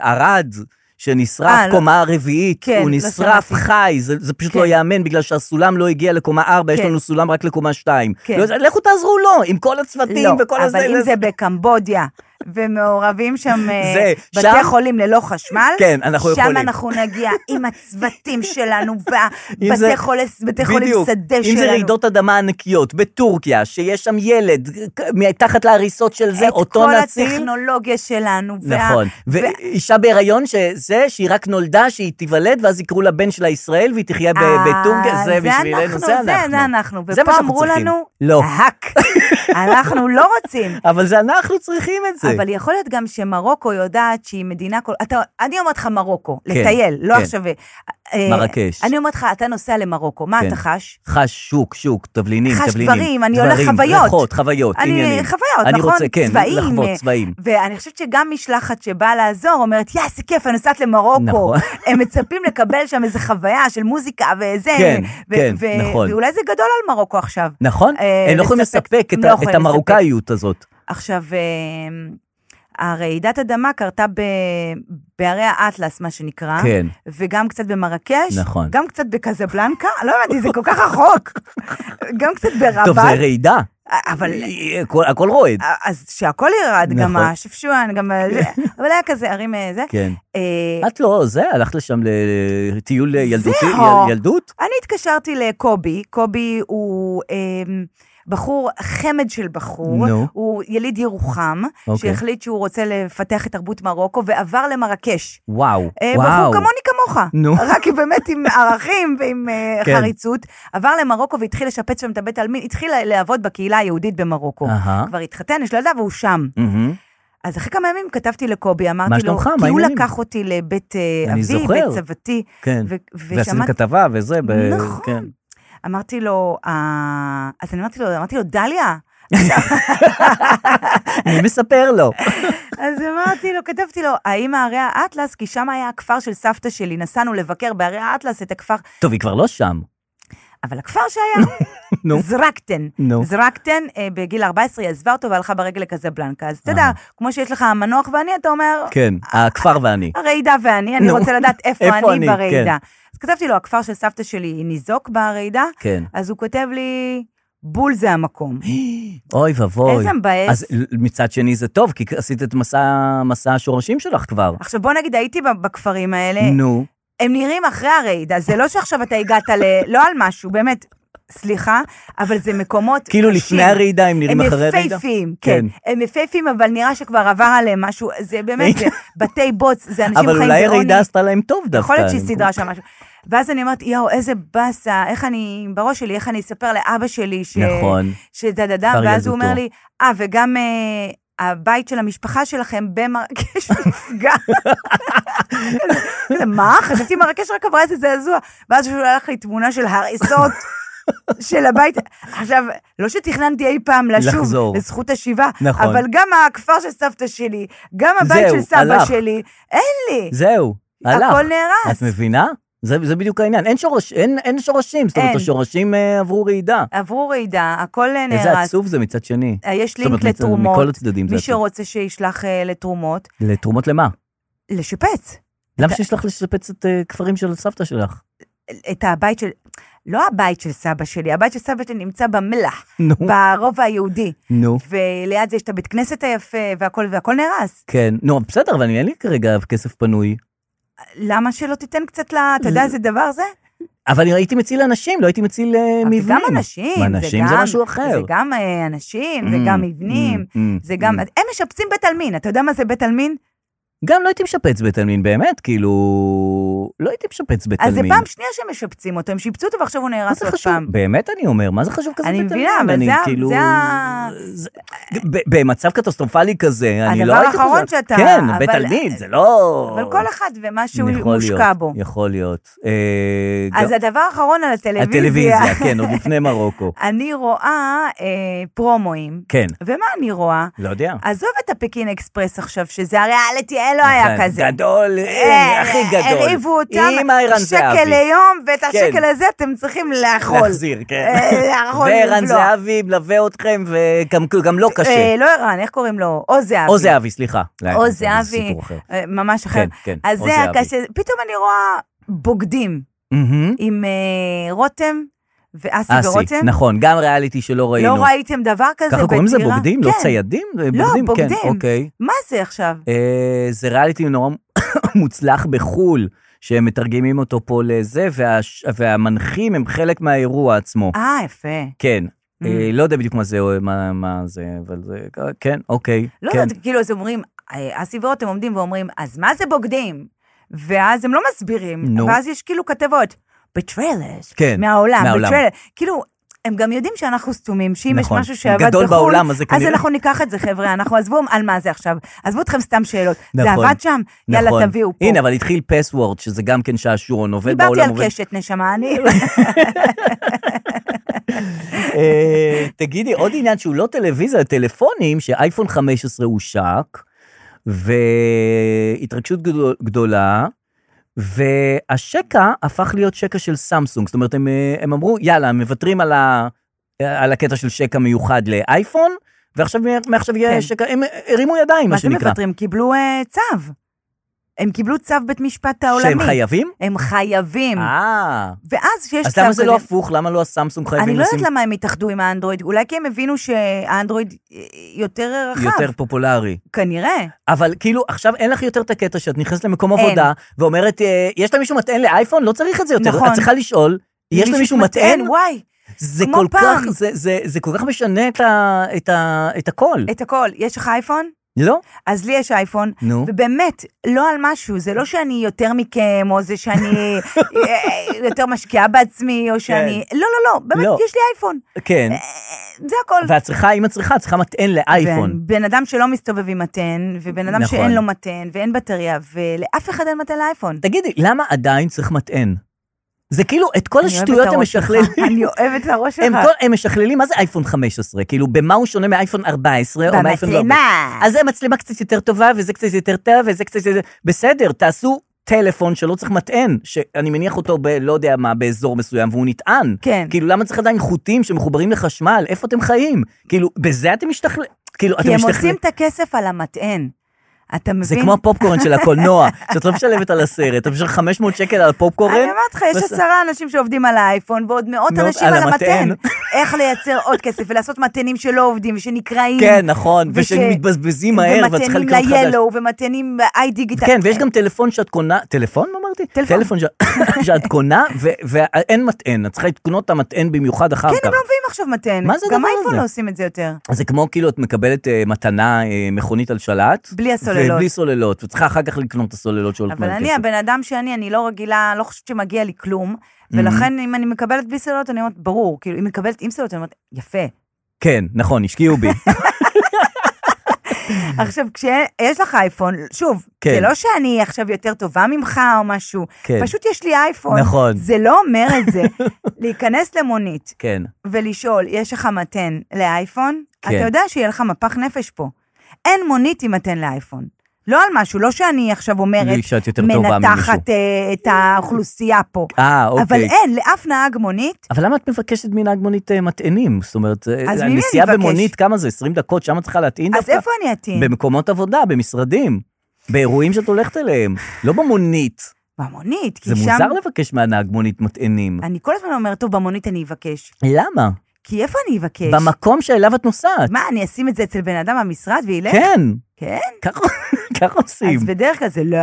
בערד. שנשרף אה, לא- קומה רביעית, כן, הוא לא נשרף שמעתי. חי, זה, זה פשוט כן. לא ייאמן, בגלל שהסולם לא הגיע לקומה 4, יש כן. לנו סולם רק לקומה 2. כן. לא, לכו תעזרו לו, עם כל הצוותים לא, וכל הזה. אבל אם לזה- זה בקמבודיה, ומעורבים שם אה, זה, בתי שם- חולים ללא חשמל, כן, אנחנו יכולים. שם אנחנו נגיע עם הצוותים שלנו, אם זה- והבתי חולס- בתי חולים בדיוק. שדה אם שלנו. זה רעידות אדמה ענקיות בטורקיה, שיש שם ילד כ- מתחת להריסות של זה, אותו את כל נציל. הטכנולוגיה שלנו. וה- נכון, ואישה בהיריון שזה, שהיא רק נולדה, שהיא תיוולד, ואז יקראו לבן שלה ישראל, והיא תחיה ב- אה, בטורקיה, זה בשבילנו, זה אנחנו. זה אנחנו. זה מה ופה שאנחנו אמרו צריכים. לנו, לא. "האק." אנחנו לא רוצים. אבל זה אנחנו צריכים את זה. אבל יכול להיות גם שמרוקו יודעת שהיא מדינה כל... אתה, אני אומרת לך מרוקו, לטייל, לא כן. עכשיו... אה, מרקש. אני אומרת לך, אתה נוסע למרוקו, מה כן. אתה חש? חש שוק, שוק, תבלינים, חש תבלינים. דברים, אני הולך חוויות. ריחות, חוויות, אני- עניינים. חוויות, אני נכון? רוצה, כן, צבעים, לחוות אה, צבעים. ואני חושבת שגם משלחת שבאה לעזור אומרת, יא, איזה כיף, אני נוסעת למרוקו. נכון. הם מצפים לקבל שם איזו חוויה של מוזיקה וזה. כן, ו- כן, ו- נכון. ואולי זה גדול על מרוקו עכשיו. נכון? אה, הם לא יכולים לספק- לספק את הם לא ה- יכולים את לספק. המרוקאיות הזאת. עכשיו, אה, הרעידת אדמה קרתה ב... בערי האטלס, מה שנקרא. כן. וגם קצת במרקש. נכון. גם קצת בקזבלנקה, לא הבנתי, זה כל כך רחוק. גם קצת ברבת. טוב, זה רעידה. אה, אבל... אה, הכל- הכל רועד. אז שהכל ירד, גם נכון. השפשואן, גם... ה- זה, אבל היה כזה ערים אה, זה. כן. אה, את לא, זה, הלכת לשם לטיול ילדותי, הו. יל- ילדות? אני התקשרתי לקובי, קובי הוא אה, בחור, חמד של בחור, נו. הוא יליד ירוחם, אוקיי. שהחליט שהוא רוצה לפתח את תרבות מרוקו ועבר למרקש. וואו, אה, וואו. בחור כמוני כמוך, נו. רק באמת עם ערכים ועם אה, כן. חריצות. עבר למרוקו והתחיל לשפץ שם את הבית העלמין, התחיל לעבוד בקהילה היהודית במרוקו. אהה. כבר התחתן, יש לו ילדה והוא שם. מהמם. אז אחרי כמה ימים כתבתי לקובי, מה אמרתי לו, שלומך? מה כי הוא העניינים? לקח אותי לבית אה, אני אבי, זוכר. בית סבתי, כן. ו- ועשיתם ושמעתי, כתבה וזה. ב- נכון. כן. אמרתי לו, "אה", אז אני אמרתי לו, אמרתי לו, דליה? אני מספר לו. אז אמרתי לו, כתבתי לו, האם הערי האטלס, כי שם היה הכפר של סבתא שלי, נסענו לבקר בערי האטלס את הכפר, טוב, היא כבר לא שם. אבל הכפר שהיה, נו. זרקתן. נו. זרקתן, אה, בגיל 14 היא עזבה אותו והלכה ברגל לקזבלנקה. אז אתה יודע, כמו שיש לך המנוח ואני, אתה אומר, כן, הכפר ואני. הרעידה ואני, אני נו. רוצה לדעת איפה איפה אני, אני ברעידה. אז כתבתי לו, הכפר של סבתא שלי ניזוק ברעידה, כן. אז הוא כותב לי, בול זה המקום. אוי ואבוי. איזה מבאס. אז מצד שני זה טוב, כי עשית את מסע מסע השורשים שלך כבר. עכשיו בוא נגיד, הייתי ב- בכפרים האלה, נו. הם נראים אחרי הרעידה, זה לא שעכשיו אתה הגעת ל... לא על משהו, באמת, סליחה, אבל זה מקומות כאילו קשים. לפני הרעידה הם נראים אחרי הם הרעידה? יפייפים, כן. הם יפייפים, אבל נראה שכבר עבר עליהם משהו, זה באמת, זה בתי בוץ, זה אנשים חיים אבל בעוני. אולי הרעידה עשתה להם טוב דווקא. יכול להיות שהיא אני- סידרה שם משהו. ואז אני אומרת, יואו, איזה באסה, איך אני, בראש שלי, איך אני אספר לאבא שלי ש... נכון. שדדדה, כבר ואז הוא ילדותו. אומר לי, אה, וגם אה, הבית של המשפחה שלכם במרקש נפגע. כזה, מה? חשבתי מרקש רק עברה איזה זעזוע. ואז הוא שלח לי תמונה של הריסות. של הבית, עכשיו, לא שתכננתי אי פעם לשוב לחזור. לזכות השיבה, נכון. אבל גם הכפר של סבתא שלי, גם הבית זהו, של סבא הלך. שלי, אין לי. זהו, הלך. הכל נהרס. את מבינה? זה, זה בדיוק העניין, אין, שורש, אין, אין שורשים, זאת אומרת, אין. השורשים אה, עברו רעידה. עברו רעידה, הכל אה, נהרס. איזה עצוב זה מצד שני. אה, יש זאת אומרת, לינק מצד- לתרומות. מכל הצדדים זה מי עצוב. שרוצה שישלח אה, לתרומות, לתרומות למה? לשפץ למה שיש לך לשפץ את אה, כפרים של סבתא שלך? את הבית של... לא הבית של סבא שלי, הבית של סבא שלי נמצא במלח, נו, ברובע היהודי. נו. וליד זה יש את הבית כנסת היפה, והכל, והכל נהרס. כן, נו, בסדר, אבל אין לי כרגע כסף פנוי. למה שלא תיתן קצת ל... אתה יודע איזה דבר זה? אבל אני הייתי מציל אנשים, לא הייתי מציל אה, אבל מבנים. זה גם אנשים, זה גם... אנשים זה משהו אחר. זה גם אה, אנשים, זה Mm, גם מבנים, mm, mm, זה גם... mm. הם משפצים בית עלמין, אתה יודע מה זה בית עלמין? גם לא הייתי משפץ בית עלמין, באמת, כאילו... לא הייתי משפץ בית אז זה עלמין. פעם שנייה שמשפצים אותו, הם שיפצו אותו ועכשיו הוא מה נהרס זה עוד חשוב? פעם. באמת אני אומר, מה זה חשוב כזה אני בית מבינה, עלמין? אבל זה ה- כאילו... זה ה- זה- ב- במצב קטסטרופלי כזה, אני לא הדבר הייתי האחרון חוזר- שאתה- כן, אבל- בית עלמין, זה לא... אבל כל אחד ומה שהוא יכול מושקע להיות, בו. יכול להיות. אה, אז גם- הדבר האחרון על הטלוויזיה, הטלוויזיה, כן, עוד לפני מרוקו. אני רואה אה, פרומואים, כן, ומה אני רואה? לא יודע. עזוב את הפקין אקספרס עכשיו, שזה הריאליטי, אה, לא היה כן, כזה. גדול, אה, אה, הכי גדול. הרעיבו אותם, עם ערן זהבי. שקל ליום, ואת כן. השקל הזה אתם צריכים לאכול. להחזיר, כן. אה, לאכול, וערן לבלוע. זהבי מלווה אתכם, וגם גם לא קשה. אה, לא ערן, איך קוראים לו? או זהבי. או זהבי, סליחה. או זה זהבי, סיפור אחר. אה, ממש אחר. כן, כן, אז או זה זהבי. הקשה, פתאום אני רואה בוגדים מהמם. עם אה, רותם ואסי אסי, ורותם. נכון, גם ריאליטי שלא ראינו. לא ראיתם דבר כזה ככה קוראים לזה בדירה? בוגדים? לא כן. ציידים? זה לא, בוגדים? כן, בוגדים. אוקיי. מה זה עכשיו? אה, זה ריאליטי נורא מוצלח בחו"ל, שהם מתרגמים אותו פה לזה, והש- והמנחים הם חלק מהאירוע עצמו. אה, יפה. כן. Mm. אה, לא יודע בדיוק מה זה, או מה- מה זה, אבל זה... כן, אוקיי. לא כן. יודעת, כאילו, אז אומרים, אה, אסי ורותם עומדים ואומרים, אז מה זה בוגדים? ואז הם לא מסבירים, נו. ואז יש כאילו כתבות, בטריילרס, כן, מהעולם, מהעולם. בטריילרס, כאילו... הם גם יודעים שאנחנו סתומים, שאם נכון. יש משהו שעבד גדול בחו"ל, בעולם, אז זה אז כנראה- אנחנו ניקח את זה, חבר'ה, אנחנו עזבו על מה זה עכשיו. עזבו אתכם סתם שאלות. זה נכון, עבד שם? יאללה, נכון. תביאו פה. הנה, אבל התחיל פסוורד, שזה גם כן שעשועון, עובד בעולם. דיברתי על עובד- קשת, נשמה, אני... אה, תגידי, עוד עניין שהוא לא טלוויזיה, טלפונים, שאייפון 15 הושק, והתרגשות גדול- גדולה, והשקע הפך להיות שקע של סמסונג. זאת אומרת, הם, אה, הם אמרו, יאללה, הם מוותרים על, ה, על הקטע של שקע מיוחד לאייפון, ועכשיו מעכשיו יהיה כן. שקע, הם הרימו ידיים, מה מה זה שנקרא. מוותרים? קיבלו אה, צו. הם קיבלו צו בית משפט העולמי. שהם חייבים? הם חייבים. אה, ואז אז כשיש צו כזה... למה זה לא הפוך? למה לא הסמסונג חייבים אני לא לשים יודעת למה הם התאחדו עם האנדרואיד, אולי כי הם הבינו שהאנדרואיד אה, יותר רחב. יותר פופולרי? כנראה. אבל כאילו, עכשיו אין לך יותר את הקטע שאת נכנסת למקום אין. עבודה ואומרת, אה, יש למישהו מטען לאייפון? לא צריך את זה יותר. נכון. את צריכה לשאול, יש למישהו מטען? וואי, זה כמו כל כך, פעם. זה- זה- זה כל כך משנה את ה- את ה- את הכל. את הכל. יש לך אייפון? לא? אז לי יש אייפון, נו. ובאמת, לא על משהו, זה לא שאני יותר מכם, או זה שאני אה, יותר משקיעה בעצמי, או שאני... לא, לא, לא, באמת, לא. יש לי אייפון. כן. אה, זה הכל. ואת צריכה, אם את צריכה, את צריכה מטען לאייפון. בן אדם שלא מסתובב עם מתן, ובן אדם נכון. שאין לו מתן, ואין בטריה, ולאף אחד אין מתן לאייפון. תגידי, למה עדיין צריך מטען? זה כאילו, את כל אני אוהבת השטויות את הם הראש שלך. משכללים. אני אוהבת את הראש שלך. הם כל- הם משכללים, מה זה אייפון 15? כאילו, במה הוא שונה מאייפון 14 או מאייפון 14? במצלמה. לא אז זה מצלמה קצת יותר טובה, וזה קצת יותר טוב, וזה קצת יותר... בסדר, תעשו טלפון שלא צריך מטען, שאני מניח אותו ב... לא יודע מה, באזור מסוים, והוא נטען. כן. כאילו, למה צריך עדיין חוטים שמחוברים לחשמל? איפה אתם חיים? כאילו, בזה אתם משתכלל... כאילו, כי אתם הם משתכלל... עושים את הכסף על המטען. אתה מבין? זה כמו הפופקורן של הקולנוע, שאת לא משלמת על הסרט, אתה משלם 500 שקל על הפופקורן. אני אומרת לך, יש בס- עשרה אנשים שעובדים על האייפון, ועוד מאות מאות אנשים על על המתן. המתען. איך לייצר עוד כסף, ולעשות מתנים שלא עובדים, ושנקרעים. כן, נכון, וש- ושמתבזבזים מהר, ואת צריכה לקנות ומתנים חדש. ל-Yellow, ומתנים ב-i דיגיטל. כן, ויש גם טלפון שאת קונה, טלפון אמרתי? טלפון. טלפון ש- שאת קונה, ו- ואין מטען, את צריכה לקנות את המטען במיוחד אחר כן, כך. הם לא מביאים עכשיו מתן. מה זה גם הדבר אייפון הזה? לא עושים את זה יותר. זה כמו כאילו את מקבלת אה, מתנה אה, מכונית על שלט. בלי הסוללות. ובלי סוללות, וצריכה אחר כך לקנות את הסוללות שעולות אבל מלא אני, כסף. הבן אדם שאני, אני לא רגילה, לא חושבת שמגיע לי כלום, ולכן אם אני מקבלת בלי סלולות, אני אומרת, ברור, כאילו, אם מקבלת עם סלולות, אני אומרת, יפה. כן, נכון, השקיעו בי. עכשיו, כשיש לך אייפון, שוב, כן. זה לא שאני עכשיו יותר טובה ממך או משהו, כן. פשוט יש לי אייפון. נכון. זה לא אומר את זה. להיכנס למונית כן. ולשאול, יש לך מתן לאייפון? כן. אתה יודע שיהיה לך מפח נפש פה. אין מונית עם מתן לאייפון. לא על משהו, לא שאני עכשיו אומרת, לי שאת יותר טובה ממישהו. מנתחת אה, את האוכלוסייה פה. אה, אבל אוקיי. אין, לאף נהג מונית, אבל למה את מבקשת מנהג מונית אה, מטענים? זאת אומרת, אה, אז ממי אני הנסיעה אבקש? במונית, כמה זה? 20 דקות? שם את צריכה להטעין אז דווקא? איפה אני אטעין? במקומות עבודה, במשרדים, באירועים שאת הולכת אליהם, לא במונית. במונית, כי זה שם... מוזר לבקש מהנהג מונית מטענים. אני כל הזמן אומרת, טוב, במונית אני אבקש. למה? כי איפה אני אבקש? במקום שאליו את נוסעת. מה, אני אשים את זה אצל בן אדם במשרד וילך? כן, כן? ככה ככה עושים. אז בדרך כלל זה לא,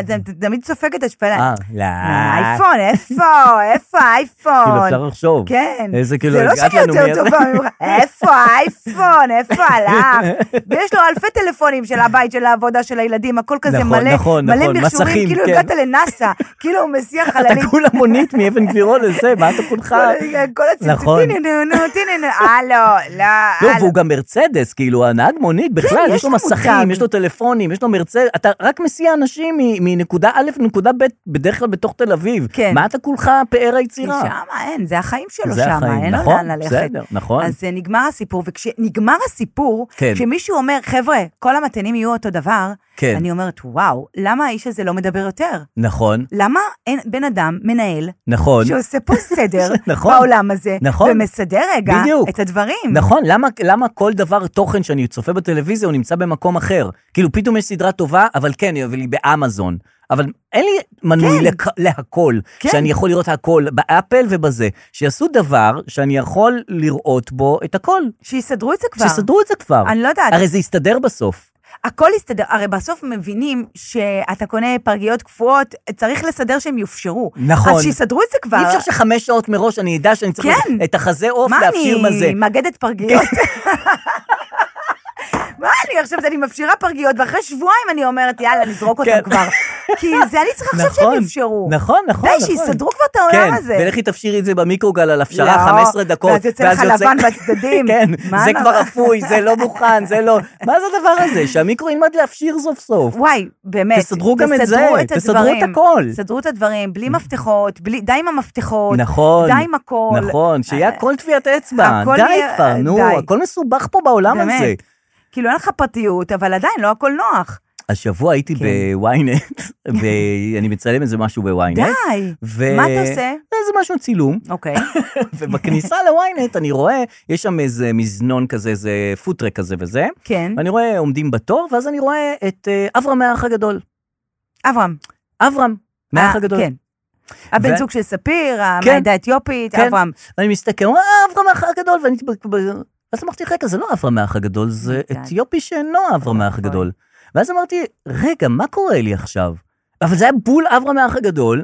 אתה אתה תמיד סופגת השפלה. אה, לא. האייפון, איפה? איפה האייפון? כאילו אפשר לחשוב. כן. איזה כאילו זה לא הגעת שאני לנו יותר מיד. טובה ממך. איפה האייפון? איפה הלך? ויש לו אלפי טלפונים של הבית, של העבודה, של הילדים, הכל כזה נכון, מלא, נכון, מלא נכון, מכשורים, מסכים, כאילו כן. הגעת לנאסא, כאילו הוא מסיע אתה חללית. כולה מונית מאבן גבירול לזה, מה אתה כולך? כל- כל נכון. הציטוטים, נו, נו, תיני, נו, הלו, לא, לא, הלו. והוא גם מרצדס, כאילו, הנהג מונית בכלל, יש יש לו לו מסכים, מותג. יש לו טלפונים, יש לו מרצדס, אתה רק מסיע אנשים מ- מנקודה א' לנקודה ב', בדרך כלל בתוך תל אביב. כן. מה אתה כולך פאר היצירה? כי שם אין, זה החיים שלו זה שם, החיים, אין לו נכון, לאן ללכת. בסדר, נכון. אז אה, נגמר הסיפור, וכשנגמר הסיפור, כן. כשמישהו אומר, חבר'ה, כל המתנים יהיו אותו דבר, כן. אני אומרת, וואו, למה האיש הזה לא מדבר יותר? נכון, למה אין בן אדם, מנהל, נכון. שעושה פה סדר נכון. בעולם הזה, נכון. ומסדר רגע בדיוק. את הדברים? נכון, למה, למה כל דבר תוכן שאני צופה בטלוויזיה הוא נמצא במקום אחר? כאילו, פתאום יש סדרה טובה, אבל כן, אבל היא באמזון. אבל אין לי מנוי כן. לק... להכל, כן. שאני יכול לראות הכל באפל ובזה. שיעשו דבר שאני יכול לראות בו את הכל. שיסדרו את זה כבר. שיסדרו את זה כבר. אני לא יודעת. הרי זה יסתדר בסוף. הכל יסתדר, הרי בסוף מבינים שאתה קונה פרגיות קפואות, צריך לסדר שהם יופשרו. נכון. אז שיסדרו את זה כבר. אי אפשר שחמש שעות מראש אני אדע שאני צריך כן. את החזה עוף מה להפשיר מזה. כן. אני מאגדת פרגיות? מה אני עכשיו, אני מפשירה פרגיות, ואחרי שבועיים אני אומרת, יאללה, נזרוק אותם כן. כבר. כי זה אני צריכה עכשיו שהם יפשרו. נכון, נכון, די, נכון. שיסדרו כבר את העולם הזה. כן, ולכי תפשירי את זה במיקרוגל על הפשרה לא, 15 דקות. ואז יוצא לך לבן בצדדים. כן, מה זה לא? כבר אפוי, זה לא מוכן, זה לא... מה זה הדבר הזה? שהמיקרו ילמד להפשיר סוף סוף. וואי, באמת. תסדרו גם את זה, תסדרו תסדרו את הדברים. הכל. תסדרו את הדברים, בלי מפתחות, בלי- די עם המפתחות. נכון, די עם הכל. אה, נכון, שיהיה הכל טביעת אצבע, הכל די יהיה- כבר, נו, די. הכל מסובך פה בעולם באמת. הזה. כאילו, אין לך פרטיות, אבל עדיין לא הכל נוח. השבוע הייתי כן. בוויינט, ואני מצלם איזה משהו בוויינט. די. ו- מה אתה עושה? איזה משהו צילום, אוקיי. ובכניסה לוויינט אני רואה, יש שם איזה מזנון כזה, איזה פוטרק כזה וזה, כן. ואני רואה עומדים בתור, ואז אני רואה את אה, אברהם מהאח הגדול. אברהם. אברהם, מהאח אה, הגדול. כן. הבן ו- זוג של ספיר, כן. המעדה האתיופית, כן. אברהם. ואני מסתכל, אה, אברהם האח הגדול, ואני... ב- ב- אז אמרתי, רגע, זה לא אברהם האח הגדול, זה די. אתיופי שאינו אברהם האח אוי. הגדול. ואז אמרתי, רגע, מה קורה לי עכשיו? אבל זה היה בול אברהם האח הגדול,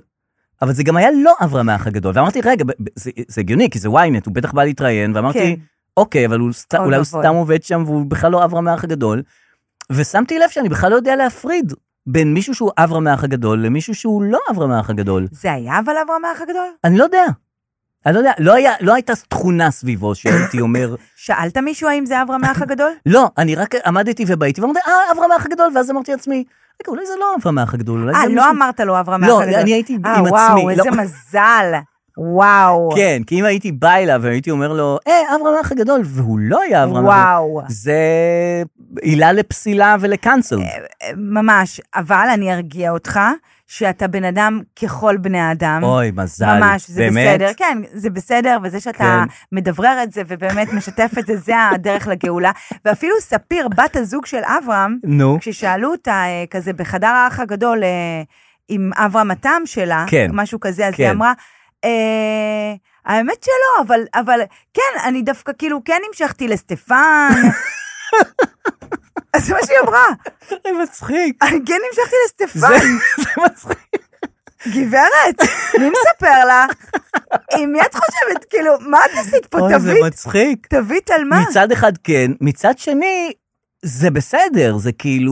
אבל זה גם היה לא אברהם האח הגדול. ואמרתי, רגע, ב- ב- זה זה הגיוני, כי זה ynet, הוא בטח בא להתראיין, ואמרתי, כן. אוקיי, אבל הוא סת- אוי אולי הוא ואבוי. סתם עובד שם והוא בכלל לא אברהם האח הגדול. ושמתי לב שאני בכלל לא יודע להפריד בין מישהו שהוא אברהם האח הגדול למישהו שהוא לא אברהם האח הגדול. זה היה אבל אברהם האח הגדול? אני לא יודע. אני לא יודע, לא, היה, לא הייתה תכונה סביבו שהייתי אומר, שאלת מישהו האם זה אברהם האח הגדול? לא, אני רק עמדתי ובאתי ואמרתי, אה, אברהם האח הגדול, ואז אמרתי לעצמי, רגע, אולי זה לא אברהם האח הגדול, אולי אה, זה לא אמרת לו אברהם האח לא, הגדול. אני הייתי עם אה, עצמי. וואו, לא. איזה מזל. וואו. כן, כי אם הייתי בא אליו והייתי אומר לו, אה, אברהם האח הגדול, והוא לא היה אברהם האח הגדול, וואו. זה עילה לפסילה ולקאנסל. אה, ממש. אבל אני ארגיע אותך, שאתה בן אדם ככל בני האדם. אוי, מזל, ממש, זה באמת. בסדר, כן, זה בסדר, וזה שאתה כן. מדברר את זה ובאמת משתף את זה, זה הדרך לגאולה. ואפילו ספיר, בת הזוג של אברהם, נו, כששאלו אותה אה, כזה בחדר האח הגדול אה, עם אברהם התם שלה, כן. משהו כזה, אז כן. היא אמרה, אה, האמת שלא, אבל, אבל כן, אני דווקא כאילו כן המשכתי לסטפן. אז זה מה שהיא אמרה, זה מצחיק, אני כן המשכתי זה לסטפן, זה מצחיק. גברת, מי מספר לך? עם מי את חושבת, כאילו, מה את עשית פה, אוי, זה תווית, מצחיק. תווית על מה? מצד אחד כן, מצד שני, זה בסדר, זה כאילו,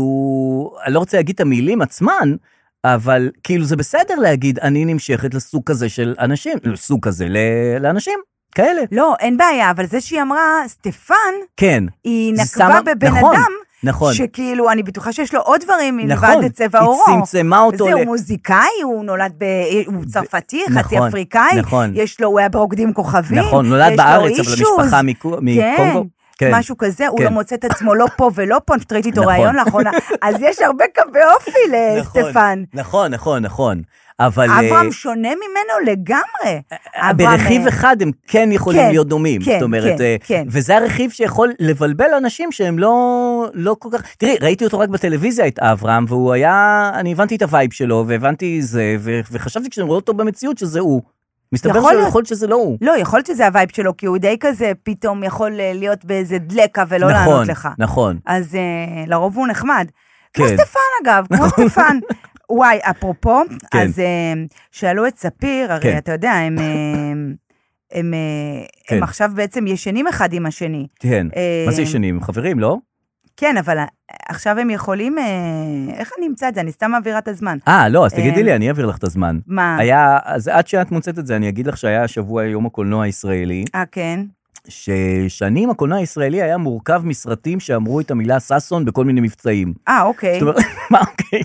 אני לא רוצה להגיד את המילים עצמן, אבל כאילו זה בסדר להגיד, אני נמשכת לסוג כזה של אנשים, לסוג כזה ל- לאנשים, כאלה. לא, אין בעיה, אבל זה שהיא אמרה, סטפן, כן, היא זה נקבה שמה- בבן נכון, אדם, נכון. שכאילו, אני בטוחה שיש לו עוד דברים מלבד נכון, את צבע עורו. היא צמצמה אותו וזה, ל- הוא מוזיקאי, הוא נולד ב... הוא צרפתי, חצי נכון, אפריקאי, נכון. יש לו, הוא היה ברוקדים עם כוכבים, נכון, נולד יש לו בארץ, אבל issues. המשפחה מקו- מקונגו. כן, כן. משהו כזה, הוא כן. לא מוצא את עצמו לא פה ולא פה, אני פשוט ראיתי איתו נכון. ראיון לאחרונה, אז יש הרבה קווי אופי נכון, לסטפן. נכון, נכון, נכון. אבל... אה, אברהם שונה ממנו לגמרי. אברהם, ברכיב אה, אחד הם כן יכולים כן, להיות דומים. כן, זאת אומרת, כן, אה, כן. וזה הרכיב שיכול לבלבל אנשים שהם לא, לא כל כך... תראי, ראיתי אותו רק בטלוויזיה, את אברהם, והוא היה... אני הבנתי את הווייב שלו, והבנתי זה, ו- וחשבתי כשאני רואה אותו במציאות שזה הוא. מסתבר יכול להיות. שיכול להיות שזה לא הוא. לא, יכול להיות שזה הווייב שלו, כי הוא די כזה פתאום יכול אה, להיות באיזה דלקה ולא נכון, לא לענות לך. נכון. אז אה, לרוב הוא נחמד. כמו כן. סטפן אגב, כמו סטפן. וואי, אפרופו, כן. אז אה, שאלו את ספיר, הרי כן. אתה יודע, הם... אה, הם, אה, כן. הם עכשיו בעצם ישנים אחד עם השני. כן. אה, מה זה ישנים? חברים, לא? כן, אבל אה, עכשיו הם יכולים... אה, איך אני אמצא את זה? אני סתם מעבירה את הזמן. אה, לא, אז תגידי אה, לי, אני אעביר לך את הזמן. מה? היה, אז עד שאת מוצאת את זה, אני אגיד לך שהיה השבוע יום הקולנוע הישראלי, אה, כן. ששנים הקולנוע הישראלי היה מורכב מסרטים שאמרו את המילה ששון בכל מיני מבצעים. אה, אוקיי. זאת אומרת, מה, אוקיי?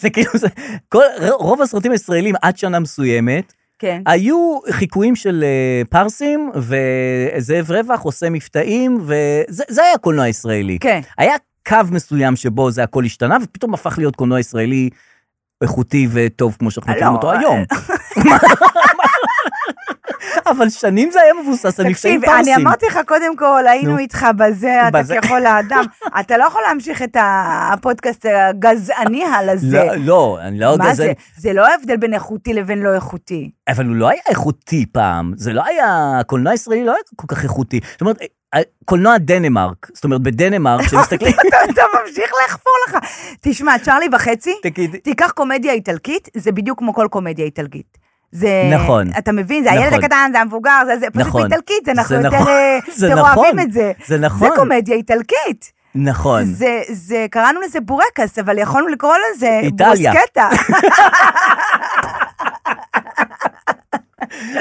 זה כאילו, זה, כל, רוב הסרטים הישראלים עד שנה מסוימת, כן. היו חיקויים של אה, פרסים, וזאב רווח עושה מבטאים, וזה זה היה הקולנוע הישראלי. כן. היה קו מסוים שבו זה הכל השתנה, ופתאום הפך להיות קולנוע ישראלי איכותי וטוב, כמו שאנחנו לא, מכירים אותו אה, היום. אבל שנים זה היה מבוסס על מבטאים תקשיב, פרסים. אני אמרתי לך קודם כל, נו. היינו איתך בזה, אתה בזה. ככל האדם. אתה לא יכול להמשיך את ה- הפודקאסט הגזעני על הזה. לא, לא, אני לא יודע, מה זה... זה? זה לא ההבדל בין איכותי לבין לא איכותי. אבל הוא לא היה איכותי פעם, זה לא היה, הקולנוע הישראלי לא היה כל כך איכותי. זאת אומרת, אה, קולנוע דנמרק, זאת אומרת, בדנמרק, כשמסתכלים... אתה אתה ממשיך לחפור לך. תשמע, צ'ארלי וחצי, תגידי. תיקח קומדיה איטלקית, זה בדיוק כמו כל קומדיה איטלקית. זה, נכון. אתה מבין, זה הילד נכון. הקטן, זה המבוגר, זה, זה פשוט נכון. באיטלקית, זה אנחנו יותר, נכון. אה, זה יותר נכון. אוהבים את זה. זה נכון. זה קומדיה איטלקית. נכון. זה, זה, קראנו לזה בורקס, אבל יכולנו לקרוא לזה איטליה. בורסקטה.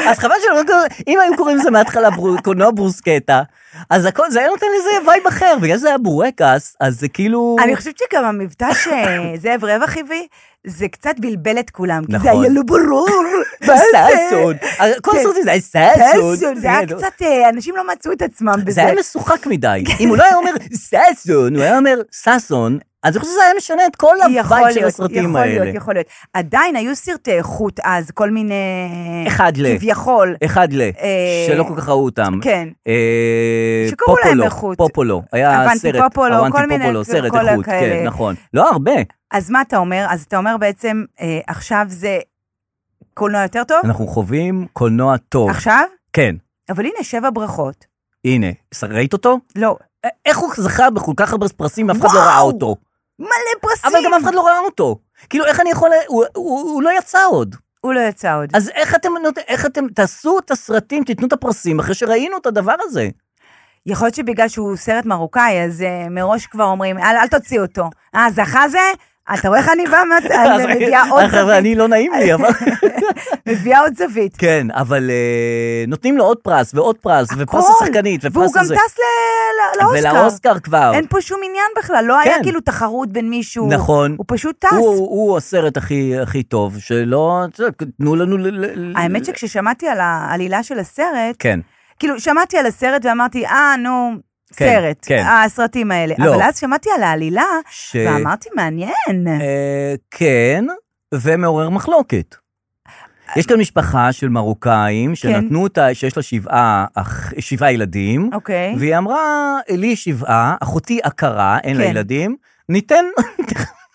אז חבל שלא קוראים, אם היו קוראים לזה מההתחלה בור- קולנוע ברוסקטה, אז הכל, זה היה נותן לזה וייב אחר, בגלל שזה היה בורקס, אז זה כאילו... אני חושבת שגם המבטא שזאב רווח הביא, זה קצת בלבל את כולם. כי זה נכון. היה לא ברור. מה זה? ששון. כל כן. הסרטים זה היה ששון. פסון, זה היה כן, קצת, אה, אנשים לא מצאו את עצמם בזה. זה היה משוחק מדי. כן. אם הוא לא היה אומר ששון, הוא היה אומר ששון, אז אני חושב שזה היה משנה את כל הווייב של הסרטים יכול האלה. להיות, יכול להיות. עדיין היו סרטי איכות אז, כל מיני... אחד ל. כביכול. אחד ל, אה, שלא כל כך ראו אותם. כן. אה, שקראו להם פופולו, איכות. פופולו, היה אבנטי סרט, פופולו, אבנטי כל מיני פופולו, סרט כל איכות, כן, כאלה. נכון. לא הרבה, אז מה אתה אומר? אז אתה אומר בעצם, אה, עכשיו זה קולנוע יותר טוב? אנחנו חווים קולנוע טוב. עכשיו? כן, אבל הנה, שבע ברכות. הנה, ראית אותו? לא, א- איך הוא זכה בכל כך הרבה פרסים ואף אחד לא וואו! ראה אותו? מלא פרסים. אבל גם אף אחד לא ראה אותו. כאילו, איך אני יכול... הוא- הוא הוא לא יצא עוד. הוא לא יצא עוד. אז איך אתם... נות- איך אתם... תעשו את הסרטים, תיתנו את הפרסים אחרי שראינו את הדבר הזה. יכול להיות שבגלל שהוא סרט מרוקאי, אז אה, מראש כבר אומרים, אל, אל תוציא אותו. אה, זכה זה? אתה רואה איך אני באה, מה- אז- אני אה, מביאה עוד אז- אבל זווית. אני לא נעים לי, אבל... אה. מביאה עוד זווית. כן, אבל אה, נותנים לו עוד פרס ועוד פרס, ופרס הכל. השחקנית, ופרס והוא גם הזה. טס ל- ל- לאוסקר. ולאוסקר כבר. אין פה שום עניין בכלל, לא כן. היה כאילו תחרות בין מישהו. נכון. הוא פשוט טס. הוא- הוא הסרט הכי הכי טוב, שלא... אתה יודע, תנו לנו... ל- ל- ל- האמת שכששמעתי על העלילה של הסרט, כן. כאילו, שמעתי על הסרט ואמרתי, אה, נו, כן, סרט, כן. הסרטים האלה. לא. אבל אז שמעתי על העלילה, ש- ואמרתי, מעניין. אה, כן, ומעורר מחלוקת. אה, יש כאן משפחה של כן. מרוקאים שנתנו אותה, שיש לה שבעה, אח- שבעה ילדים, אוקיי. והיא אמרה, לי שבעה, אחותי עקרה, אין לה כן. ילדים, ניתן,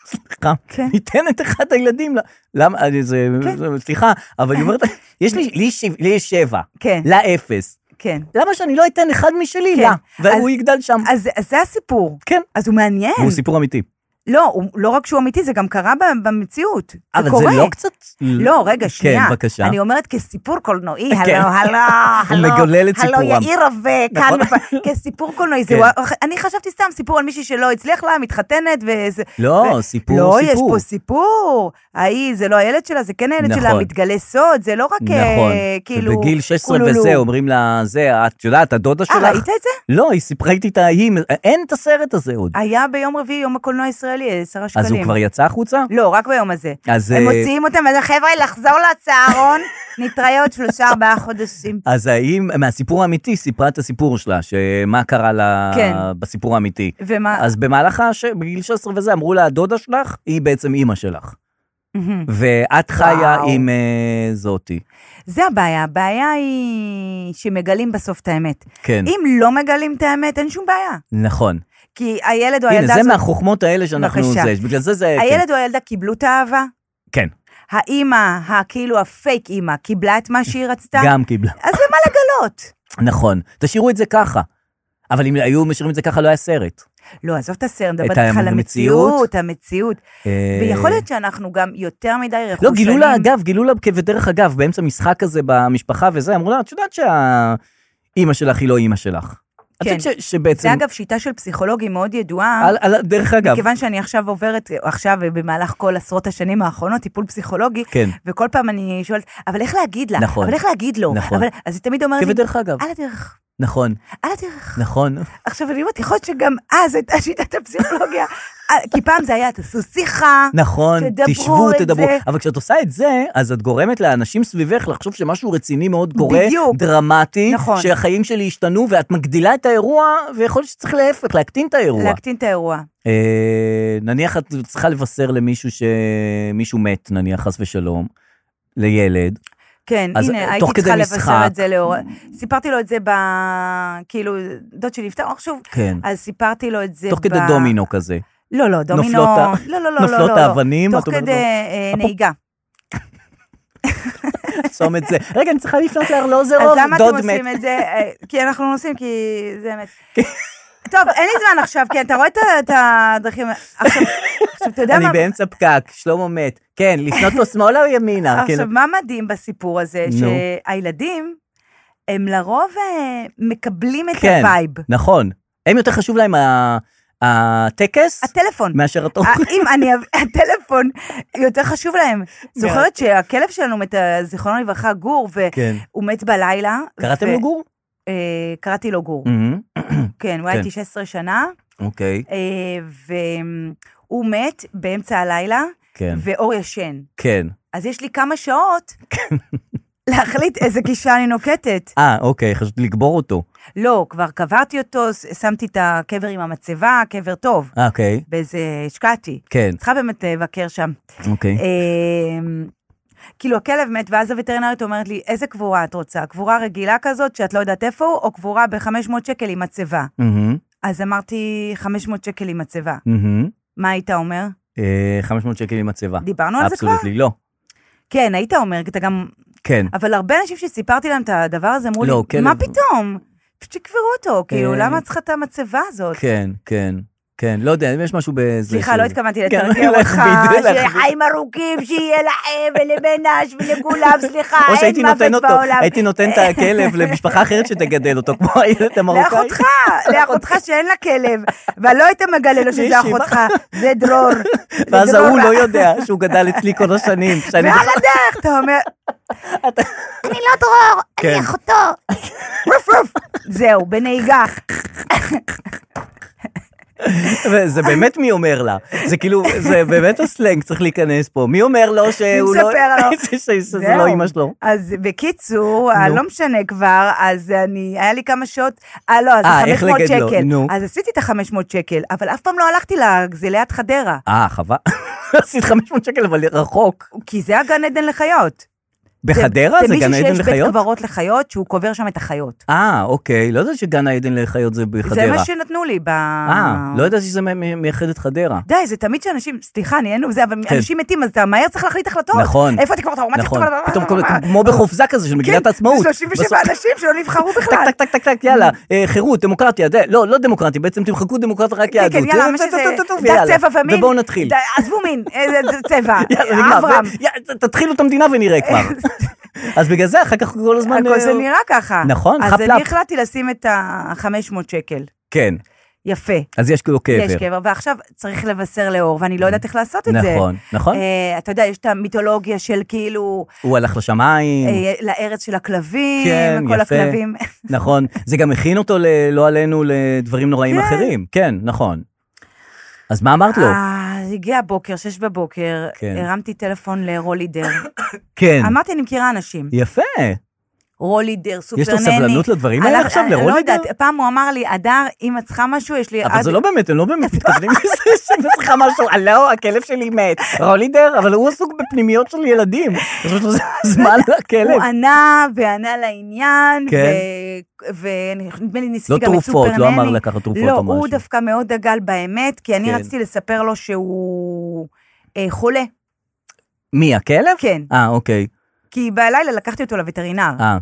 סליחה, כן. ניתן את אחד הילדים, לה." למה, אני- זה, זה- סליחה, אבל היא אומרת, יש לי, לי שבע- לי יש שבע, כן. לה אפס, כן. למה שאני לא אתן אחד משלי, כן. לה, אז- והוא יגדל שם. אז אז זה הסיפור. כן. אז הוא מעניין. והוא סיפור אמיתי. לא, הוא- לא רק שהוא אמיתי, זה גם קרה ב- במציאות. זה אבל קורה. זה לא קצת... לא, רגע, שנייה. כן, בבקשה. אני אומרת כסיפור קולנועי, כן. הלו, הלו, הוא הלו. מגולל את הלו, סיפורם. יאיר וכאן, נכון. מפ- כסיפור קולנועי. זה כן. וואו, אני חשבתי סתם סיפור על מישהי שלא הצליח לה, מתחתנת, וזה... לא, ו- סיפור, לא, יש סיפור. פה סיפור. ההיא, זה לא הילד שלה, זה כן הילד שלה, נכון. מתגלה סוד, זה לא רק אה, נכון, כאילו... ובגיל 16 קולולו. וזה אומרים לה, זה, את יודעת, הדודה שלך. אה, ראית את זה? לא, היא סיפרה איתי את ההיא, אין את הסרט הזה עוד. היה ביום רביעי, יום הקולנוע הישראלי, עשרה שקלים. אז הוא כבר יצא החוצה? לא, רק ביום הזה. אז, הם אה, מוציאים אותם, אז חבר'ה, לחזור לצהרון, נתראה עוד שלושה, ארבעה חודשים. אז האם, מהסיפור האמיתי, סיפרה את הסיפור שלה, שמה קרה לה כן. בסיפור האמיתי. ומה... אז במהלך, הש... בגיל 16 וזה, אמרו לה, הדודה שלך, היא בעצם אימא שלך. ואת חיה וואו. עם אה, זאתי. זה הבעיה, הבעיה היא שמגלים בסוף את האמת. כן, אם לא מגלים את האמת, אין שום בעיה. נכון. כי הילד או הנה, לא, הילדה זה הזאת, מהחוכמות האלה שאנחנו... בבקשה. זה, בגלל זה זה... כן, הילד או הילדה קיבלו את האהבה, כן. האימא, הכאילו הפייק אימא, קיבלה את מה שהיא רצתה? גם קיבלה. אז למה לגלות? נכון. תשאירו את זה ככה. אבל אם היו משאירים את זה ככה, לא היה סרט. לא, עזוב את הסרט, אני מדברת ה- איתך על המציאות? המציאות, המציאות. אה, ויכול להיות שאנחנו גם יותר מדי רכושנים. לא, גילו לה, אגב, גילו לה, כבדרך אגב, באמצע משחק כזה במשפחה וזה, אמרו לה, את יודעת שהאימא שלך היא לא אימא שלך. את כן. יודעת ש- שבעצם, זה אגב שיטה של פסיכולוגים מאוד ידועה. על- על- דרך אגב, מכיוון שאני עכשיו עוברת, עכשיו במהלך כל עשרות השנים האחרונות, טיפול פסיכולוגי, כן. וכל פעם אני שואלת, אבל איך להגיד לה? נכון. אבל איך להגיד לו? נכון. אבל, אז היא תמיד אומרת לי, כבדרך אגב, על הדרך, נכון, על הדרך. נכון, עכשיו אני אומרת, יכול להיות שגם אז הייתה שיטת הפסיכולוגיה, אה, כי פעם זה היה, תעשו שיחה. נכון, תדברו תשבו, את תדברו, זה. אבל כשאת עושה את זה, אז את גורמת לאנשים סביבך לחשוב שמשהו רציני מאוד קורה, בדיוק. דרמטי, נכון. שהחיים שלי השתנו, ואת מגדילה את האירוע, ויכול להיות שצריך להפך, להקטין את האירוע. להקטין את האירוע. אה, נניח את צריכה לבשר למישהו שמישהו מת, נניח, חס ושלום, לילד. כן, אז, הנה, אה, הייתי תוך כדי צריכה משחק. לבשר את זה לאור... סיפרתי לו את זה ב... כאילו, דוד שלי נפטר, עכשיו, כן. אז סיפרתי לו את זה תוך ב... כדי דומינו כזה. לא, לא, דומינו... נופלות ה- לא, לא, לא, נופלות לא, לא. האבנים, את תוך אומרת כדי לו- אה, הפו- נהיגה. צומת זה. רגע, אני צריכה לפנות לארלוזרוב, אז למה דוד אתם מת. עושים כן. את זה? אה, כי אנחנו נוסעים, כי זה אמת. טוב, אין לי זמן עכשיו, כן, אתה רואה את ה- את הדרכים... עכשיו, עכשיו, אתה יודע אני מה... באמצע פקק, שלמה מת. כן, לפנות לו שמאלה או ימינה? עכשיו, כן. מה מדהים בסיפור הזה? נו. שהילדים, הם לרוב אה, מקבלים את כן. הווייב. נכון. הם יותר חשוב להם ה- הטקס הטלפון. אה, מאשר התוכן. אם אני, הטלפון יותר חשוב להם. זוכרת שהכלב שלנו מת, אה, זיכרונו לברכה, גור, כן. והוא מת בלילה. קראתם ו- לו גור? אה, קראתי לו גור, מהמם. כן, הוא היה Mm, כן. 19 שנה, אוקיי, אה, והוא מת באמצע הלילה, כן, ואור ישן. כן. אז יש לי כמה שעות להחליט איזה גישה אני נוקטת. אה, אוקיי, חשבתי לגבור אותו. לא, כבר קברתי אותו, ש- שמתי את הקבר עם המצבה, קבר טוב, אה, אוקיי, באיזה, השקעתי. כן, צריכה באמת אה, לבקר שם. אוקיי. אה. אמ, כאילו הכלב מת, ואז הווטרינרית אומרת לי, איזה קבורה את רוצה? קבורה רגילה כזאת שאת לא יודעת איפה הוא, או קבורה ב-500 שקל עם מצבה? מהמם, אז אמרתי, 500 שקל עם מצבה. מהמם. מה היית אומר? mm-hmm. אה, 500 שקל עם הצבע. דיברנו על זה כבר? אבסולוטלי, לא. כן, היית אומר, אתה גם... כן. אבל הרבה אנשים שסיפרתי להם את הדבר הזה, אמרו לי, לא, כלב- מה פתאום? פשוט שיקברו אותו, כאילו, למה את צריכה את המצבה הזאת? כן, כן, כן, לא יודע, אם יש משהו בזה. סליחה, של- לא התכוונתי כן, לתרגם אותך, להכביד, שיהיה להכביד. חיים ארוכים, שיהיה לכם ולבנש ולכולם, סליחה, או שהייתי אין נותן מוות אותו, בעולם. הייתי נותן את הכלב למשפחה אחרת שתגדל אותו, כמו הילד המרוקאי. לאחותך, לאחותך שאין לה כלב, אבל לא היית מגלה לו שזה מישהי, אחותך, זה דרור. ואז זה לא, דרור. ההוא לא יודע שהוא גדל אצלי כל השנים. שאני- ועל הדרך, אתה אומר, אני לא דרור, כן. אני אחותו. רוף רוף, זהו, בנהיגה. לא. וזה באמת מי אומר לה. זה כאילו, זה באמת הסלנג צריך להיכנס פה. מי אומר לו שהוא לא... מספר לו. שזה זהו. לא אימא שלו. אז בקיצור, אה, לא משנה כבר, אז אני, היה לי כמה שעות, אה לא, אז אה, זה איך 500 לגד לו, שקל. נו. אז עשיתי את ה-500 שקל, אבל אף פעם לא הלכתי לגזילת חדרה, אה, חבל. עשית 500 שקל, אבל רחוק. כי זה הגן עדן לחיות. בחדרה זה גן מישהו עדן שיש בית לחיות? קברות לחיות, שהוא קובר שם את החיות. אה, אוקיי, לא ידעתי שגן העדן לחיות זה בחדרה. זה מה שנתנו לי ב... אה, לא ידעתי שזה מ- מ- מייחד את חדרה. די, זה תמיד שאנשים, סליחה, נהיינו בזה, אבל כן. אנשים מתים, אז אתה מהר צריך להחליט החלטות. נכון. איפה אתה כבר, אתה אומר, מה נכון, אתה כבר- פתאום כל- כמו בחופזה כזה של מגילת העצמאות. לא, כן, 37 בסוף- אנשים שלא נבחרו טק, בכלל. Mm-hmm. טק, טק, טק, טק, יאללה, אה, חירות, דמוקרטיה, זה- לא, לא דמוקרטיה, בעצם תמחקו דמוקרטיה רק יהדות. כן, יאללה, מה טו, שזה, טו, טו, טו, דת ויאללה. צבע ומין. ובואו נתחיל. ד- עזבו מין, אה, ד- צבע, יאללה, נגמר. אברהם. ו- יא- ת- תתחילו את המדינה ונראה כבר. אז בגלל זה, אחר כך כל הזמן... הכל אה, זה נראה ככה. נכון, אז חפלפ. אני החלטתי לשים את ה-500 שקל. כן, יפה. אז יש כאילו קבר. יש קבר, ועכשיו צריך לבשר לאור, ואני לא יודעת איך לעשות את זה. נכון, נכון. אה, אתה יודע, יש את המיתולוגיה של כאילו, הוא הלך לשמיים, אה, לארץ של הכלבים, כן, כל יפה. הכלבים. נכון. זה גם הכין אותו, ל- לא עלינו, לדברים נוראים אחרים. כן, נכון. אז מה אמרת לו? אה, הגיע הבוקר, שש בבוקר, לא. כן. הרמתי טלפון לרולידר. כן. אמרתי, אני מכירה אנשים. יפה. רולידר, סופרנני. יש לו סבלנות לדברים האלה הלך- עכשיו, אה, לרולידר? לא יודעת, פעם הוא אמר לי, הדר, אם את צריכה משהו, יש לי... אבל עד- זה לא באמת, הם לא באמת מתכוונים לזה שאני צריכה משהו, הלו, הכלב שלי מת. רולידר, אבל הוא עסוק בפנימיות של ילדים. יש לו זמן לכלב. לא, הוא ענה, וענה לעניין, כן. ו- ונדמה לי ניסיתי לא גם את תרופות, סופרנני. לא אמר לקחת תרופות לא, או משהו. הוא דווקא מאוד דגל באמת, כי אני כן. רציתי לספר לו שהוא אה, חולה. מי, הכלב? כן. אה, אוקיי. כי בלילה לקחתי אותו לווטרינר. אה.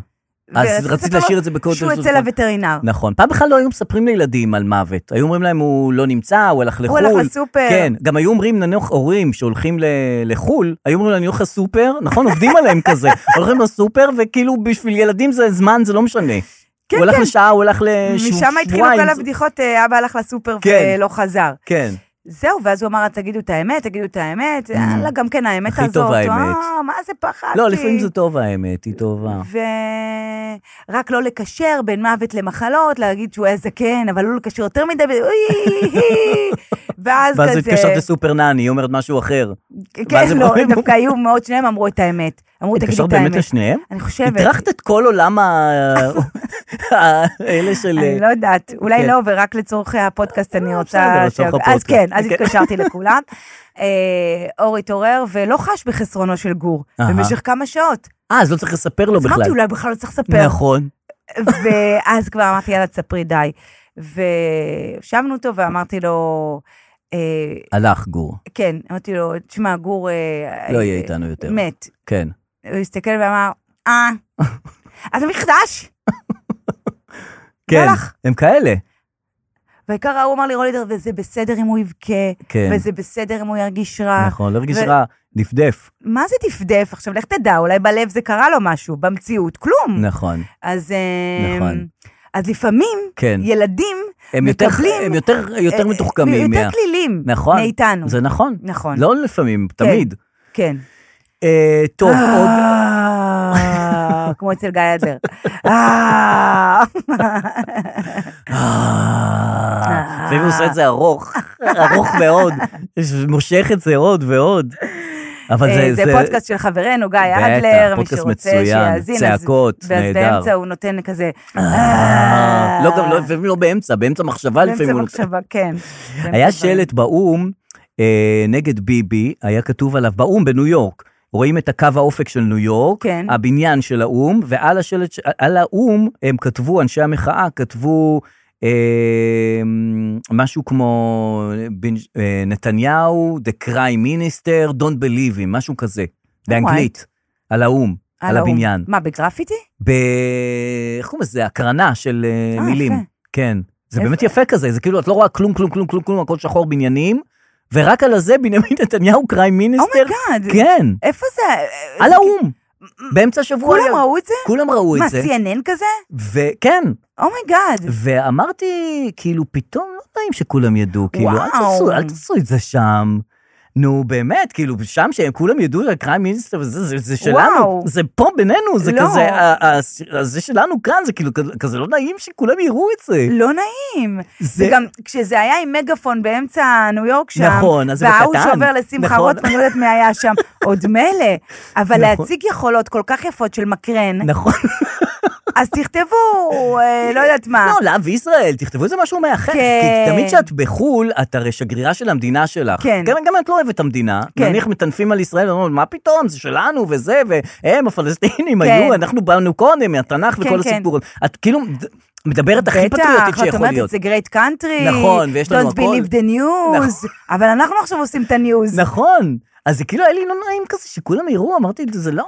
אז ורציתי רצית אותו- להשאיר את זה בקודש. שהוא אצל הווטרינר. נכון. פעם בכלל לא היו מספרים לילדים על מוות. היו אומרים להם, הוא לא נמצא, הוא הלך לחו"ל. הלך לסופר. כן. גם היו אומרים, נניח הורים שהולכים ל- לחו"ל, היו אומרים להם, אני הולך לסופר, נכון? עובדים עליהם כזה. הולכים לסופר, וכאילו בשביל ילדים זה זמן, זה לא משנה. כן, הוא הלך כן. לשעה, הוא הלך לשבועיים. משם התחילו כל זה- הבדיחות, אה, אבא הלך לסופר כן. ולא חזר. כן. זהו, ואז הוא אמר, תגידו את האמת, תגידו את האמת, יאללה, גם כן האמת Mm. הכי הזאת. טוב האמת. אה, מה זה פחדתי. לא, לפעמים זה טוב האמת, היא טובה. ורק לא לקשר בין מוות למחלות, להגיד שהוא היה זקן, אבל לא לקשר יותר מדי, ב- אוי, הי. ואז כזה... ואז התקשרת לסופר נני, היא אומרת משהו אחר. ואז כן, הם אומרים- לא, "אוקיי, הם דווקא היו מאוד, שניהם אמרו את האמת. אמרו, תגידו התקשרת את באמת האמת. לשניהם? אני חושבת. הטרחת את כל עולם ה- האלה של... אני לא יודעת, אולי כן. אה, לא, ורק לצורך הפודקאסט אני בסדר, רוצה... ש- לצורך אז הפודקאסט. כן, אז כן. התקשרתי לכולם. אה, אור התעורר ולא חש בחסרונו של גור אהה. במשך כמה שעות. אה, אז לא צריך לספר לו אז אמרתי, בכלל. אולי בכלל לא צריך לספר. נכון. ואז כבר אמרתי, יאללה, תספרי די. והשבנו אותו ואמרתי לו, אה, הלך גור, כן, אמרתי לו, תשמע, גור... אה, לא אה, יהיה איתנו יותר. מת. לא כן. הוא הסתכל ואמר, אה, אז זה מחדש? כן, הלך. הם כאלה. והעיקר ההוא אמר לי, רולידר, וזה בסדר אם הוא יבכה, כן. וזה בסדר אם הוא ירגיש רע. נכון, לא הרגיש אה, ו- רע, דפדף. מה זה דפדף? עכשיו, לך תדע, אולי בלב זה קרה לו משהו, במציאות, כלום. נכון, אז... אה, נכון. אז לפעמים, כן. ילדים הם יותר- מקבלים... הם יותר- יותר אה, מתוחכמים יותר מה- כלילים. נכון. מאיתנו. זה נכון. נכון. לא לפעמים, תמיד. כן. אה, טוב, עוד... אה, כמו אצל גיא אדלר. אה, אה, לפעמים הוא עושה את זה ארוך, ארוך מאוד, מושך את זה עוד ועוד. אבל אה, זה... זה פודקאסט של חברנו, גיא בטח, אדלר, מי פודקאסט שרוצה מצוין, שיאזין. אז- צעקות, ואז נהדר. באמצע הוא נותן כזה... אה, אה, לא, גם לא, לפעמים לא באמצע, באמצע מחשבה לפעמים באמצע הוא נותן. מחשבה, כן. היה שלט באו"ם אה, נגד ביבי, היה כתוב עליו, באו"ם בניו יורק, רואים את הקו האופק של ניו יורק, כן. הבניין של האו"ם, ועל השלט, ש- על האו"ם הם כתבו, אנשי המחאה כתבו אה, משהו כמו בנ- אה, נתניהו, the crime minister, don't believe him, משהו כזה, באנגלית, על האו"ם, על, Oh, האו"ם. הבניין. אה, לא, מה, בגרפיטי? ב... איך קוראים לזה? הקרנה של אה, אה, מילים. יפה. כן. זה יפה. באמת יפה כזה, זה כאילו, את לא רואה כלום, כלום, כלום, כלום, כלום, הכל שחור בניינים, ורק על הזה בנימין נתניהו קריים מיניסטר. אומייגאד. אה, כן, איפה זה? על האו"ם, באמצע השבוע. אה, כולם ראו את זה? אה, כולם ראו מה, את זה. כן. CNN כזה? Oh וכן, אומייגאד. ואמרתי, כאילו, פתאום לא נעים שכולם ידעו, כאילו, אל וואו. תעשו, אל תעשו את זה שם. נו, באמת, כאילו, שם שהם כולם ידעו שהקריים מיניסטר, זה, זה, זה שלנו, וואו. זה פה בינינו, זה לא. כזה, ה- ה- ה- זה שלנו כאן, זה כאילו כזה- כזה לא נעים שכולם יראו את זה. לא נעים. זה- זה גם כשזה היה עם מגאפון באמצע ניו יורק שם, נכון, אז זה וההוא בקטן. שובר לשמחה נכון. רוטמן, לא יודעת מי היה שם, עוד מילא, אבל נכון. להציג יכולות כל כך יפות של מקרן, נכון. אז תכתבו, אה, לא יודעת מה. לא, לעם ישראל, תכתבו איזה משהו מאחד. כן. כי תמיד כשאת בחו"ל, את הרי שגרירה של המדינה שלך. כן. גם, גם את לא אוהבת את המדינה. כן. נניח מטנפים על ישראל, ואומרים, מה פתאום, זה שלנו וזה, והם, הפלסטינים כן. היו, אנחנו באנו קודם, מהתנ"ך כן, וכל כן. הסיפור. את כאילו מדברת הכי פטריוטית בטח, את שיכול אומרת להיות. את זה גרייט קאנטרי, נכון, ויש לנו הכל. Don't believe the news, אבל אנחנו עכשיו עושים את הניוז. נכון. אז זה כאילו היה לי לא נעים כזה, שכולם יראו, אמרתי, זה לא,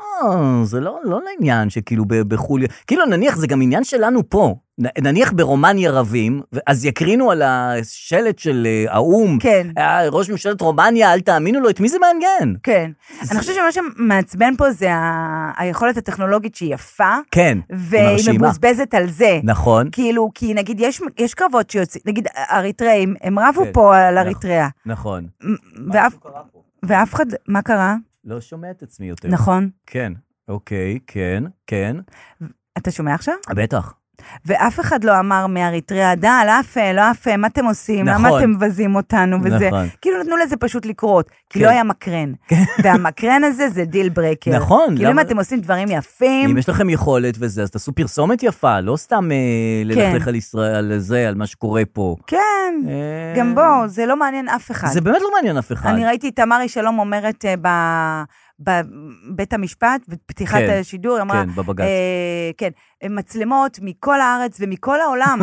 זה לא, לא לעניין שכאילו ב- בחו"ל, כאילו נניח זה גם עניין שלנו פה, נ- נניח ברומניה רבים, ו- אז יקרינו על השלט של אה, האו"ם, כן. אה, ראש ממשלת רומניה, אל תאמינו לו, את מי זה מעניין? כן. אני חושבת שמה שמעצבן פה זה ה- היכולת הטכנולוגית שהיא יפה, כן, והיא מרשימה. מבוזבזת על זה. נכון, כאילו, כי נגיד יש, יש קרבות שיוצאים, נגיד אריתראים, הם רבו כן. פה על נכון. אריתריאה. נכון. מ- ואף, ואף אחד, מה קרה? לא שומע את עצמי יותר. נכון. כן, אוקיי, כן, כן, אתה שומע עכשיו? בטח. ואף אחד לא אמר מאריתריאה, דה, לא יפה, לא יפה, מה אתם עושים? נכון. למה אתם מבזים אותנו וזה? נכון. כאילו נתנו לזה פשוט לקרות, כי כן. לא היה מקרן. והמקרן הזה זה דיל ברקר. נכון, כאילו אם למה- אתם עושים דברים יפים, אם יש לכם יכולת וזה, אז תעשו פרסומת יפה, לא סתם אה, ללכלך על ישראל, על זה, על מה שקורה פה. כן, אה, גם בוא, זה לא מעניין אף אחד. זה באמת לא מעניין אף אחד. אני ראיתי את תמרי שלום אומרת אה, ב- בבית המשפט, בפתיחת כן, השידור, היא אמרה... כן, בבג"ץ. אה, כן, מצלמות מכל הארץ ומכל העולם.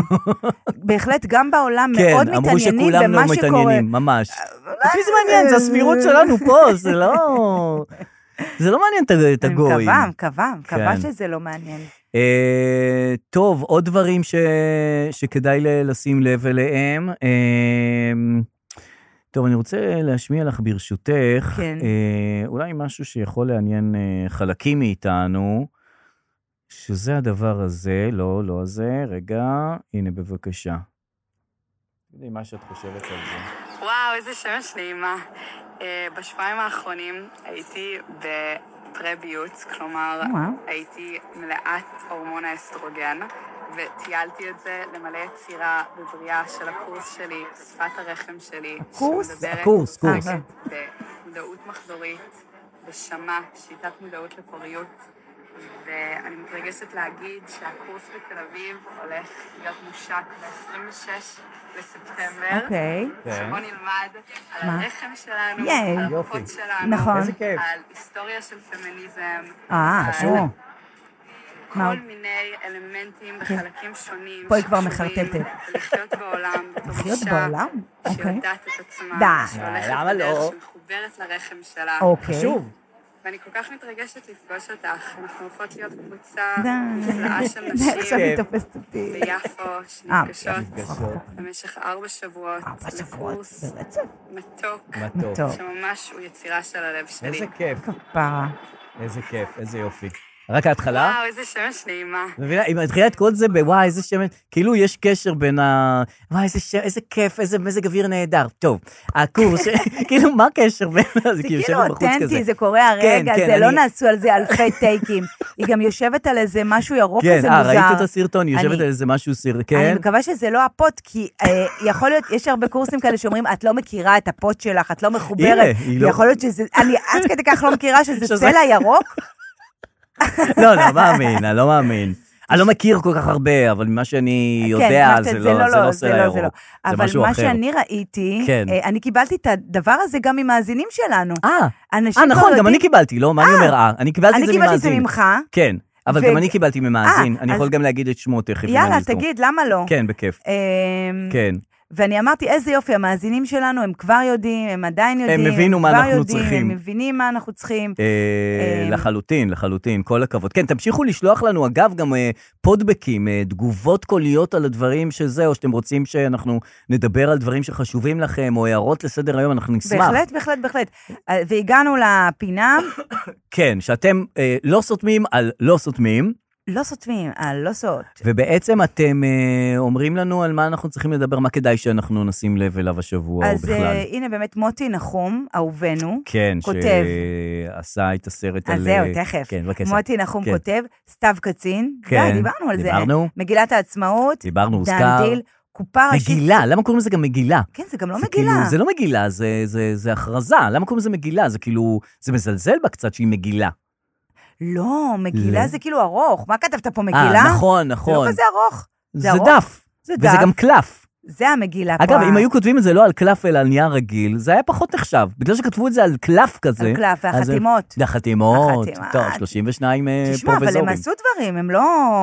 בהחלט, גם בעולם מאוד כן, אמרו מתעניינים שכולם לא במה שקורה. אה, מתעניינים, ממש. את מי זה מעניין? זה הסבירות שלנו פה, זה לא... זה לא מעניין את- את אני הגויים. מקווה, מקווה, מקווה כן. שזה לא מעניין. אה, טוב, עוד דברים ש... שכדאי ל- לשים לב אליהם. אה, טוב, אני רוצה להשמיע לך ברשותך, כן. אה, אולי משהו שיכול לעניין אה, חלקים מאיתנו, שזה הדבר הזה, לא, לא הזה, רגע, הנה בבקשה. תגידי מה שאת חושבת על זה. וואו, איזה שמש נעימה. אה, בשבועיים האחרונים הייתי בפרביוץ, כלומר, וואו. הייתי מלאת הורמון האסטרוגן, וטיילתי את זה למלא יצירה ובריאה של הקורס שלי, שפת הרחם שלי. הקורס? שמדברת הקורס, קורס. ועוסקת במודעות מחזורית, בשמה, שיטת מודעות לפוריות. ואני מתרגשת להגיד שהקורס בתל אביב הולך להיות מושק ב-26 לספטמבר. אוקיי. כן. שבו נלמד על מה? הרחם שלנו, ייי. על יופי. הכוחות שלנו, נכון. איזה כיף. על היסטוריה של פמיניזם, אה, חשוב. או, מה כל עוד? מיני אלמנטים וחלקים שונים. פה היא כבר שקשורים מחרטטת. לחיות בעולם, בתור לחיות אישה בעולם? אוקיי. שיודעת את עצמה, די. שהולכת למה לא? בדרך שמחוברת לרחם שלה. אוקיי. ואני כל כך מתרגשת לפגוש אותך, אנחנו הולכות להיות קבוצה די. נפלאה של די, עכשיו נשים היא תופסת אותי. ביפו, שנפגשות במשך ארבע שבועות, אה, ארבע שבועות, לקורס ברצף. מתוק, מתוק. טוב. שממש הוא יצירה של הלב שלי. כיף, כפרה. איזה כיף, איזה יופי. רק ההתחלה? וואו, איזה שמש נעימה. מבינה, היא מתחילה את כל זה בוואי, איזה שמן, כאילו יש קשר בין ה... וואי, איזה, ש... איזה כיף, איזה מזג אוויר נהדר. טוב, הקורס, כאילו, מה הקשר בין... זה כאילו אותנטי, זה קורה כן, הרגע, כן, זה לא אני- נעשו על זה אלפי טייקים. היא גם יושבת על איזה משהו ירוק כן, כזה אה, מוזר. ראית את הסרטון, היא יושבת אני- על איזה משהו סיר, אני כן? מקווה שזה לא הפוט, כי אה, יכול להיות, יש הרבה קורסים כאלה שאומרים, את לא מכירה את הפוט שלך, את לא מחוברת. הנה, היא לא- יכול להיות שזה, אני עד כדי כך לא מכירה שזה שזה- צלע ירוק. לא, לא מאמין, אני לא מאמין. אני לא מכיר כל כך הרבה, אבל ממה כן, שאני יודע, מה זה שאתה- לא זה לא סלע ירוק, זה אבל משהו מה אחר. שאני ראיתי, כן. אה, אני קיבלתי את הדבר הזה גם ממאזינים שלנו. אה, אנשים אה, כבר נכון, גם אני יודעים- קיבלתי, לא, מה אני אומר אה? אני קיבלתי את אני זה קיבלתי את זה ממאזין. ממך. כן, אבל ו- גם אני קיבלתי ממאזין, אה, אני אז- יכול גם להגיד את שמו תכף. אם אני יאללה, אזכור. תגיד, למה לא? כן, בכיף. אמ, כן. ואני אמרתי, איזה יופי, המאזינים שלנו, הם כבר יודעים, הם עדיין יודעים. הבינו מה כבר אנחנו יודעים, צריכים. הם מבינים מה אנחנו צריכים. אה, אמ, לחלוטין, לחלוטין, כל הכבוד. כן, תמשיכו לשלוח לנו, אגב, גם אה, פודבקים, אה, תגובות קוליות על הדברים שזה, או שאתם רוצים שאנחנו נדבר על דברים שחשובים לכם, או הערות לסדר היום, אנחנו נשמח. בהחלט, בהחלט, בהחלט. אה, והגענו לפינה, כן, שאתם אה, לא סותמים על לא סותמים, לא סותמים, על לא סוט. כן. ובעצם אתם אה, אומרים לנו על מה אנחנו צריכים לדבר, מה כדאי שאנחנו נשים לב אליו השבוע, או אז אה, בכלל. הנה באמת מוטי נחום, אהובנו, כן, כותב. שעשה את הסרט על... אז זהו, אה, תכף. כן, בבקשה. מוטי נחום כן. כותב, סתיו קצין, כן, די, דיברנו על זה. דיברנו. מגילת העצמאות, דיברנו, דן הוזכר. דיל, קופה ראשית. מגילה, למה קוראים לזה גם מגילה? כן, זה גם לא זה מגילה. כאילו, זה לא מגילה, זה, זה, זה הכרזה. למה קוראים לזה מגילה? זה כאילו, זה מזלזל בה קצת שהיא מגילה. לא, מגילה לא. זה כאילו ארוך. מה כתבת פה, מגילה? אה, נכון, זה לא נכון. כזה ארוך. זה ארוך. דף. זה וזה דף. גם קלף. זה המגילה פה. אגב, אם ה- היו כותבים את זה לא על קלף אלא על נייר רגיל, זה היה פחות נחשב. בגלל שכתבו את זה על קלף כזה. על קלף אז זה- והחתימות. החתימות. החתימה. טוב, 32 אה, תשמע, אבל פרופסורים. הם עשו דברים, הם לא...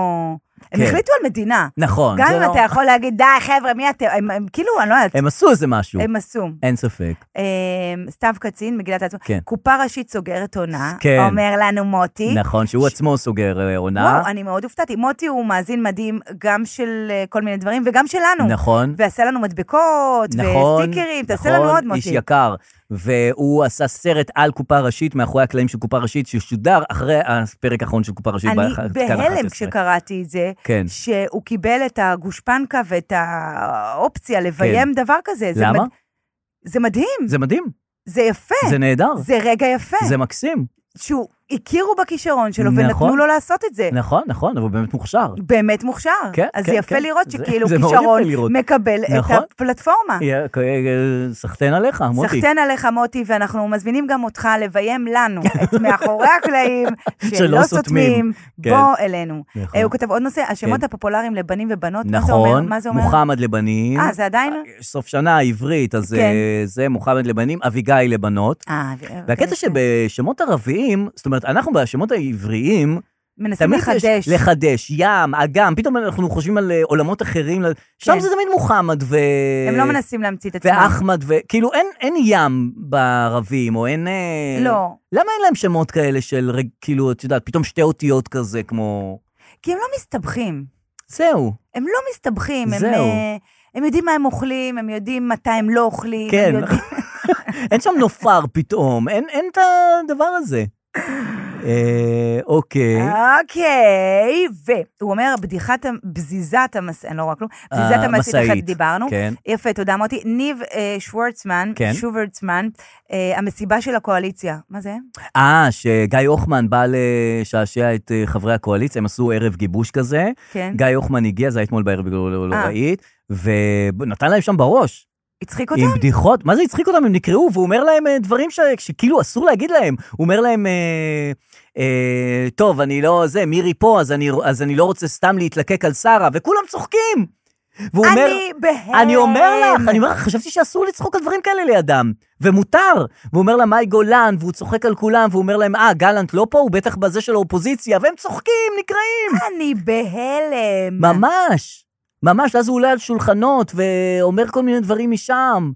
הם כן. החליטו על מדינה. נכון, גם זה אם לא- אתה יכול להגיד, די, חבר'ה, מי אתם? הם- הם כאילו, אני לא יודעת, הם עשו איזה משהו. הם עשו. אין ספק. אמ, סתיו קצין, מגילת העצמאות. כן. קופה ראשית סוגרת עונה, כן. אומר לנו מוטי. נכון, שהוא עצמו סוגר אה, עונה. וואו, לא, אני מאוד הופתעתי. מוטי הוא מאזין מדהים גם של אה, כל מיני דברים וגם שלנו. נכון. ועשה לנו מדבקות, נכון, וסטיקרים, תעשה לנו עוד, נכון, איש מוטי. יקר. והוא עשה סרט על קופה ראשית, מאחורי הקלעים של קופה ראשית, ששודר אחרי הפרק האחרון של קופה ראשית. אני באח- כאן בהלם 11. כשקראתי את זה, כן. שהוא קיבל את הגושפנקה ואת האופציה לביים דבר כזה. זה כן. למה? מד- זה מדהים, זה מדהים, זה יפה, זה נהדר, זה רגע יפה. זה מקסים. שהוא, הכירו בכישרון שלו נכון. ונתנו לו לעשות את זה. נכון, נכון, אבל הוא באמת מוכשר. באמת מוכשר. כן, אז כן, זה יפה כן. לראות זה- שכאילו זה מאוד כישרון יפה לראות. מקבל נכון. את הפלטפורמה. יא, כ- אה, סחטיין עליך, מוטי. סחטיין עליך מוטי, ואנחנו מזמינים גם אותך לביים לנו את מאחורי הקלעים שלא שלא סותמים. סותמים, כן. בוא אלינו. נכון. אה, הוא כתב עוד נושא, השמות כן. הפופולריים לבנים ובנות, מה זה אומר? נכון, מה זה אומר? מוחמד לבנים. אה, זה עדיין? סוף שנה עברית, אז כן. אה, זה מוחמד לבנים, אביגיל לבנות. אה, אוקיי, והקטע כן. שבשמות ערביים, זאת אומרת, אנחנו בשמות העבריים, מנסים תמיד לחדש. יש לחדש, ים, אגם, פתאום אנחנו חושבים על אה, עולמות אחרים, שם כן. זה תמיד מוחמד ו... הם אה, לא מנסים להמציא את עצמם. ואחמד, וכאילו אין, אין ים בערבים, או אין... אה, לא. למה אין להם שמות כאלה של, רג- כאילו, את יודעת, פתאום שתי אותיות כזה, כמו... כי הם לא מסתבכים. זהו. הם לא מסתבכים. הם, זהו. אה, הם יודעים מה הם אוכלים, הם יודעים מתי הם לא אוכלים. הם כן. יודעים- אין שם נופר פתאום, אין, אין את הדבר הזה. אה, אוקיי. אוקיי, והוא אומר, בדיחת, המ- בזיזת המשאית, לא רואה כלום, בזיזת אה, המשאית, אחת משאית. דיברנו. כן. יפה, תודה מוטי. ניב אה, שוורצמן, כן. שוורצמן, אה, המסיבה של הקואליציה. מה זה? אה, שגיא הוחמן בא לשעשע את אה, חברי הקואליציה, הם עשו ערב גיבוש כזה. כן. גיא הוחמן הגיע, זה היה אתמול בערב, לא- לא לא אה. ראית, ונתן להם שם בראש. הצחיק אותם? עם בדיחות, מה זה הצחיק אותם? הם נקרעו, והוא אומר להם אה, דברים ש... שכאילו אסור להגיד להם. הוא אומר להם, אה, אה, טוב, אני לא זה, מירי פה, אז אני, אז אני לא רוצה סתם להתלקק על שרה, וכולם צוחקים. והוא אומר, אני בהם. אני אומר לך, אני אומר לך, חשבתי שאסור לצחוק על דברים כאלה לידם, ומותר. והוא אומר לה, מאי גולן, והוא צוחק על כולם, והוא אומר להם, אה, גלנט לא פה, הוא בטח בזה של האופוזיציה, והם צוחקים, נקרעים. אני בהלם. ממש, ממש, ואז הוא עולה על שולחנות, ואומר כל מיני דברים משם.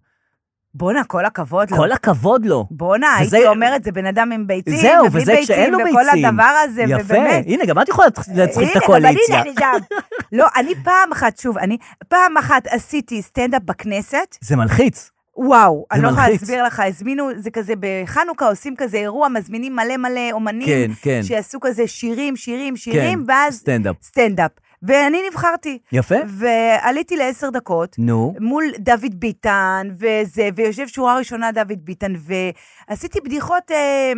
בואנה, כל הכבוד לו. כל הכבוד לו. בואנה, וזה- הייתי אומרת, זה בן אדם עם ביצים, זהו, ובלי וזה כשאין לו ביצים. וכל הדבר הזה, יפה, ובאמת. הנה, גם את יכולה להצחיק את הקואליציה. הנה, גם אני שם. לא, אני פעם אחת, שוב, אני פעם אחת עשיתי סטנדאפ בכנסת, זה מלחיץ. וואו, אני זה לא יכולה מלחיץ. להסביר לך, הזמינו, זה כזה בחנוכה עושים כזה אירוע, מזמינים מלא מלא אומנים, כן, כן. שיעשו כזה שירים, שירים, שירים, ואז סטנדאפ. סטנדאפ. ואני נבחרתי. יפה. ועליתי לעשר דקות. נו. מול דוד ביטן, וזה, ויושב שורה ראשונה דוד ביטן, ועשיתי בדיחות... אה,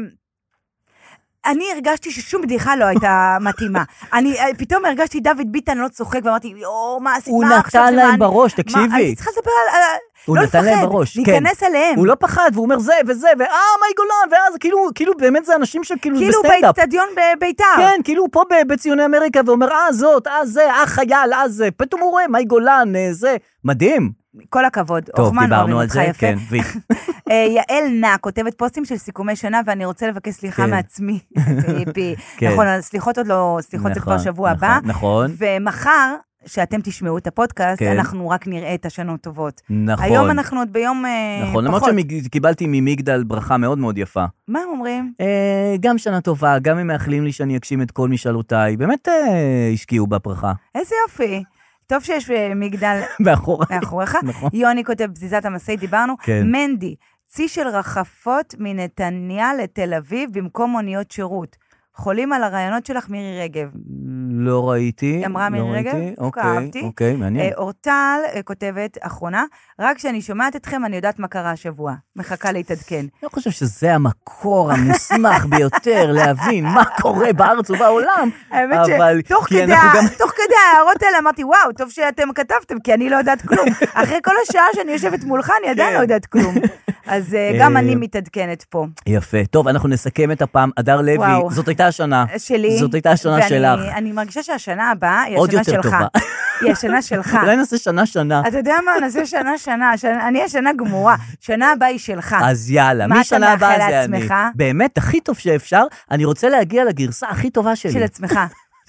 אני הרגשתי ששום בדיחה לא הייתה מתאימה. אני אה, פתאום הרגשתי דוד ביטן לא צוחק, ואמרתי, יואו, מה עשית? הוא מה עכשיו נתן זה להם מה אני- בראש, מה, תקשיבי. הייתי צריכה לדבר על... על- הוא לא נתן להם לפחד, בראש, כן. להיכנס אליהם. הוא לא פחד, והוא אומר זה וזה, ואה, מאי גולן, ואז כאילו, כאילו באמת זה אנשים שכאילו כאילו בסטנדאפ. באצטדיון בביתר. כן, כאילו הוא פה ב- בציוני אמריקה, ואומר, אה זאת, אה זה, אה חייל, אה זה. פתאום הוא רואה, מאי גולן, אה, זה. מדהים. כל הכבוד, טוב, הוחמן, דיברנו אוהבים על אותך זה, יפה. כן. וי. אה, יעל נע כותבת פוסטים של סיכומי שנה, ואני רוצה לבקש סליחה כן. מעצמי. פיפי. כן. נכון, הסליחות עוד לא, סליחות זה כבר נכון, שבוע נכון, הבא. נכון. ומחר, שאתם תשמעו את הפודקאסט, כן. אנחנו רק נראה את השנות טובות. נכון. היום אנחנו עוד ביום אה, נכון, למרות פחות. שקיבלתי ממגדל ברכה מאוד מאוד יפה. מה הם אומרים? אה, גם שנה טובה, גם הם מאחלים לי שאני אגשים את כל משאלותיי. באמת אה, השקיעו בברכה. איזה יופי. טוב שיש אה, מגדל מאחורה. מאחוריך. נכון. יוני כותב, בזיזת המשאית, דיברנו. כן. מנדי, צי של רחפות מנתניה לתל אביב במקום מוניות שירות. חולים על הרעיונות שלך, מירי רגב. לא ראיתי. היא לא אמרה מירי רגב, ראיתי. דווקא אוקיי, אהבתי. אוקיי, מעניין. אה, אורטל אה, כותבת, אחרונה, רק כשאני שומעת אתכם, אני יודעת מה קרה השבוע. מחכה להתעדכן. אני לא חושב שזה המקור המוסמך ביותר להבין מה קורה בארץ ובעולם, האמת אבל שתוך כי כדי, אנחנו גם... תוך כדי ההערות האלה אמרתי, וואו, טוב שאתם כתבתם, כי אני לא יודעת כלום. אחרי כל השעה שאני יושבת מולך, אני עדיין כן. לא יודעת כלום. אז אה, אה, גם אני מתעדכנת פה. יפה. טוב, אנחנו נסכם את הפעם. הדר וואו. לוי, זאת הייתה השנה. שלי. זאת הייתה השנה ואני- שלך. אני מרגישה שהשנה הבאה היא עוד השנה יותר שלך. טובה. היא השנה שלך. אולי נעשה שנה-שנה. אתה יודע מה, נעשה שנה, שנה, שנה- אני השנה גמורה, שנה הבאה היא שלך. אז יאללה, אה, מה אתה משנה הבאה מאחל זה לעצמך? אני. באמת, הכי טוב שאפשר, אני רוצה להגיע לגרסה הכי טובה שלי. של עצמך.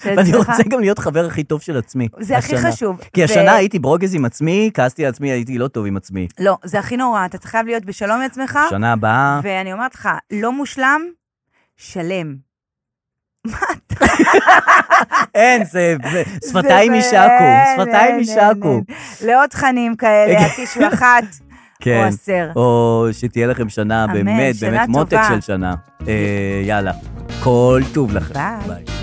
של ואני עצמך. רוצה גם להיות חבר הכי טוב של עצמי. זה הכי השנה. חשוב. כי ו- השנה הייתי ברוגז עם עצמי, כעסתי על עצמי, הייתי לא טוב עם עצמי. לא, זה הכי נורא, אתה צריך חייב להיות בשלום עם עצמך, שנה הבאה, ואני אומרת לך, לא מושלם, שלם. אין, זה זה- שפתיים זה- יישקו, אין, שפתיים אין, יישקו. אין, אין. לעוד תכנים כאלה, הקישו אחת כן. או עשר. או שתהיה לכם שנה אמן, באמת, שנה באמת מותק טובה. של שנה. אה, יאללה, כל טוב לכם. ביי. ביי.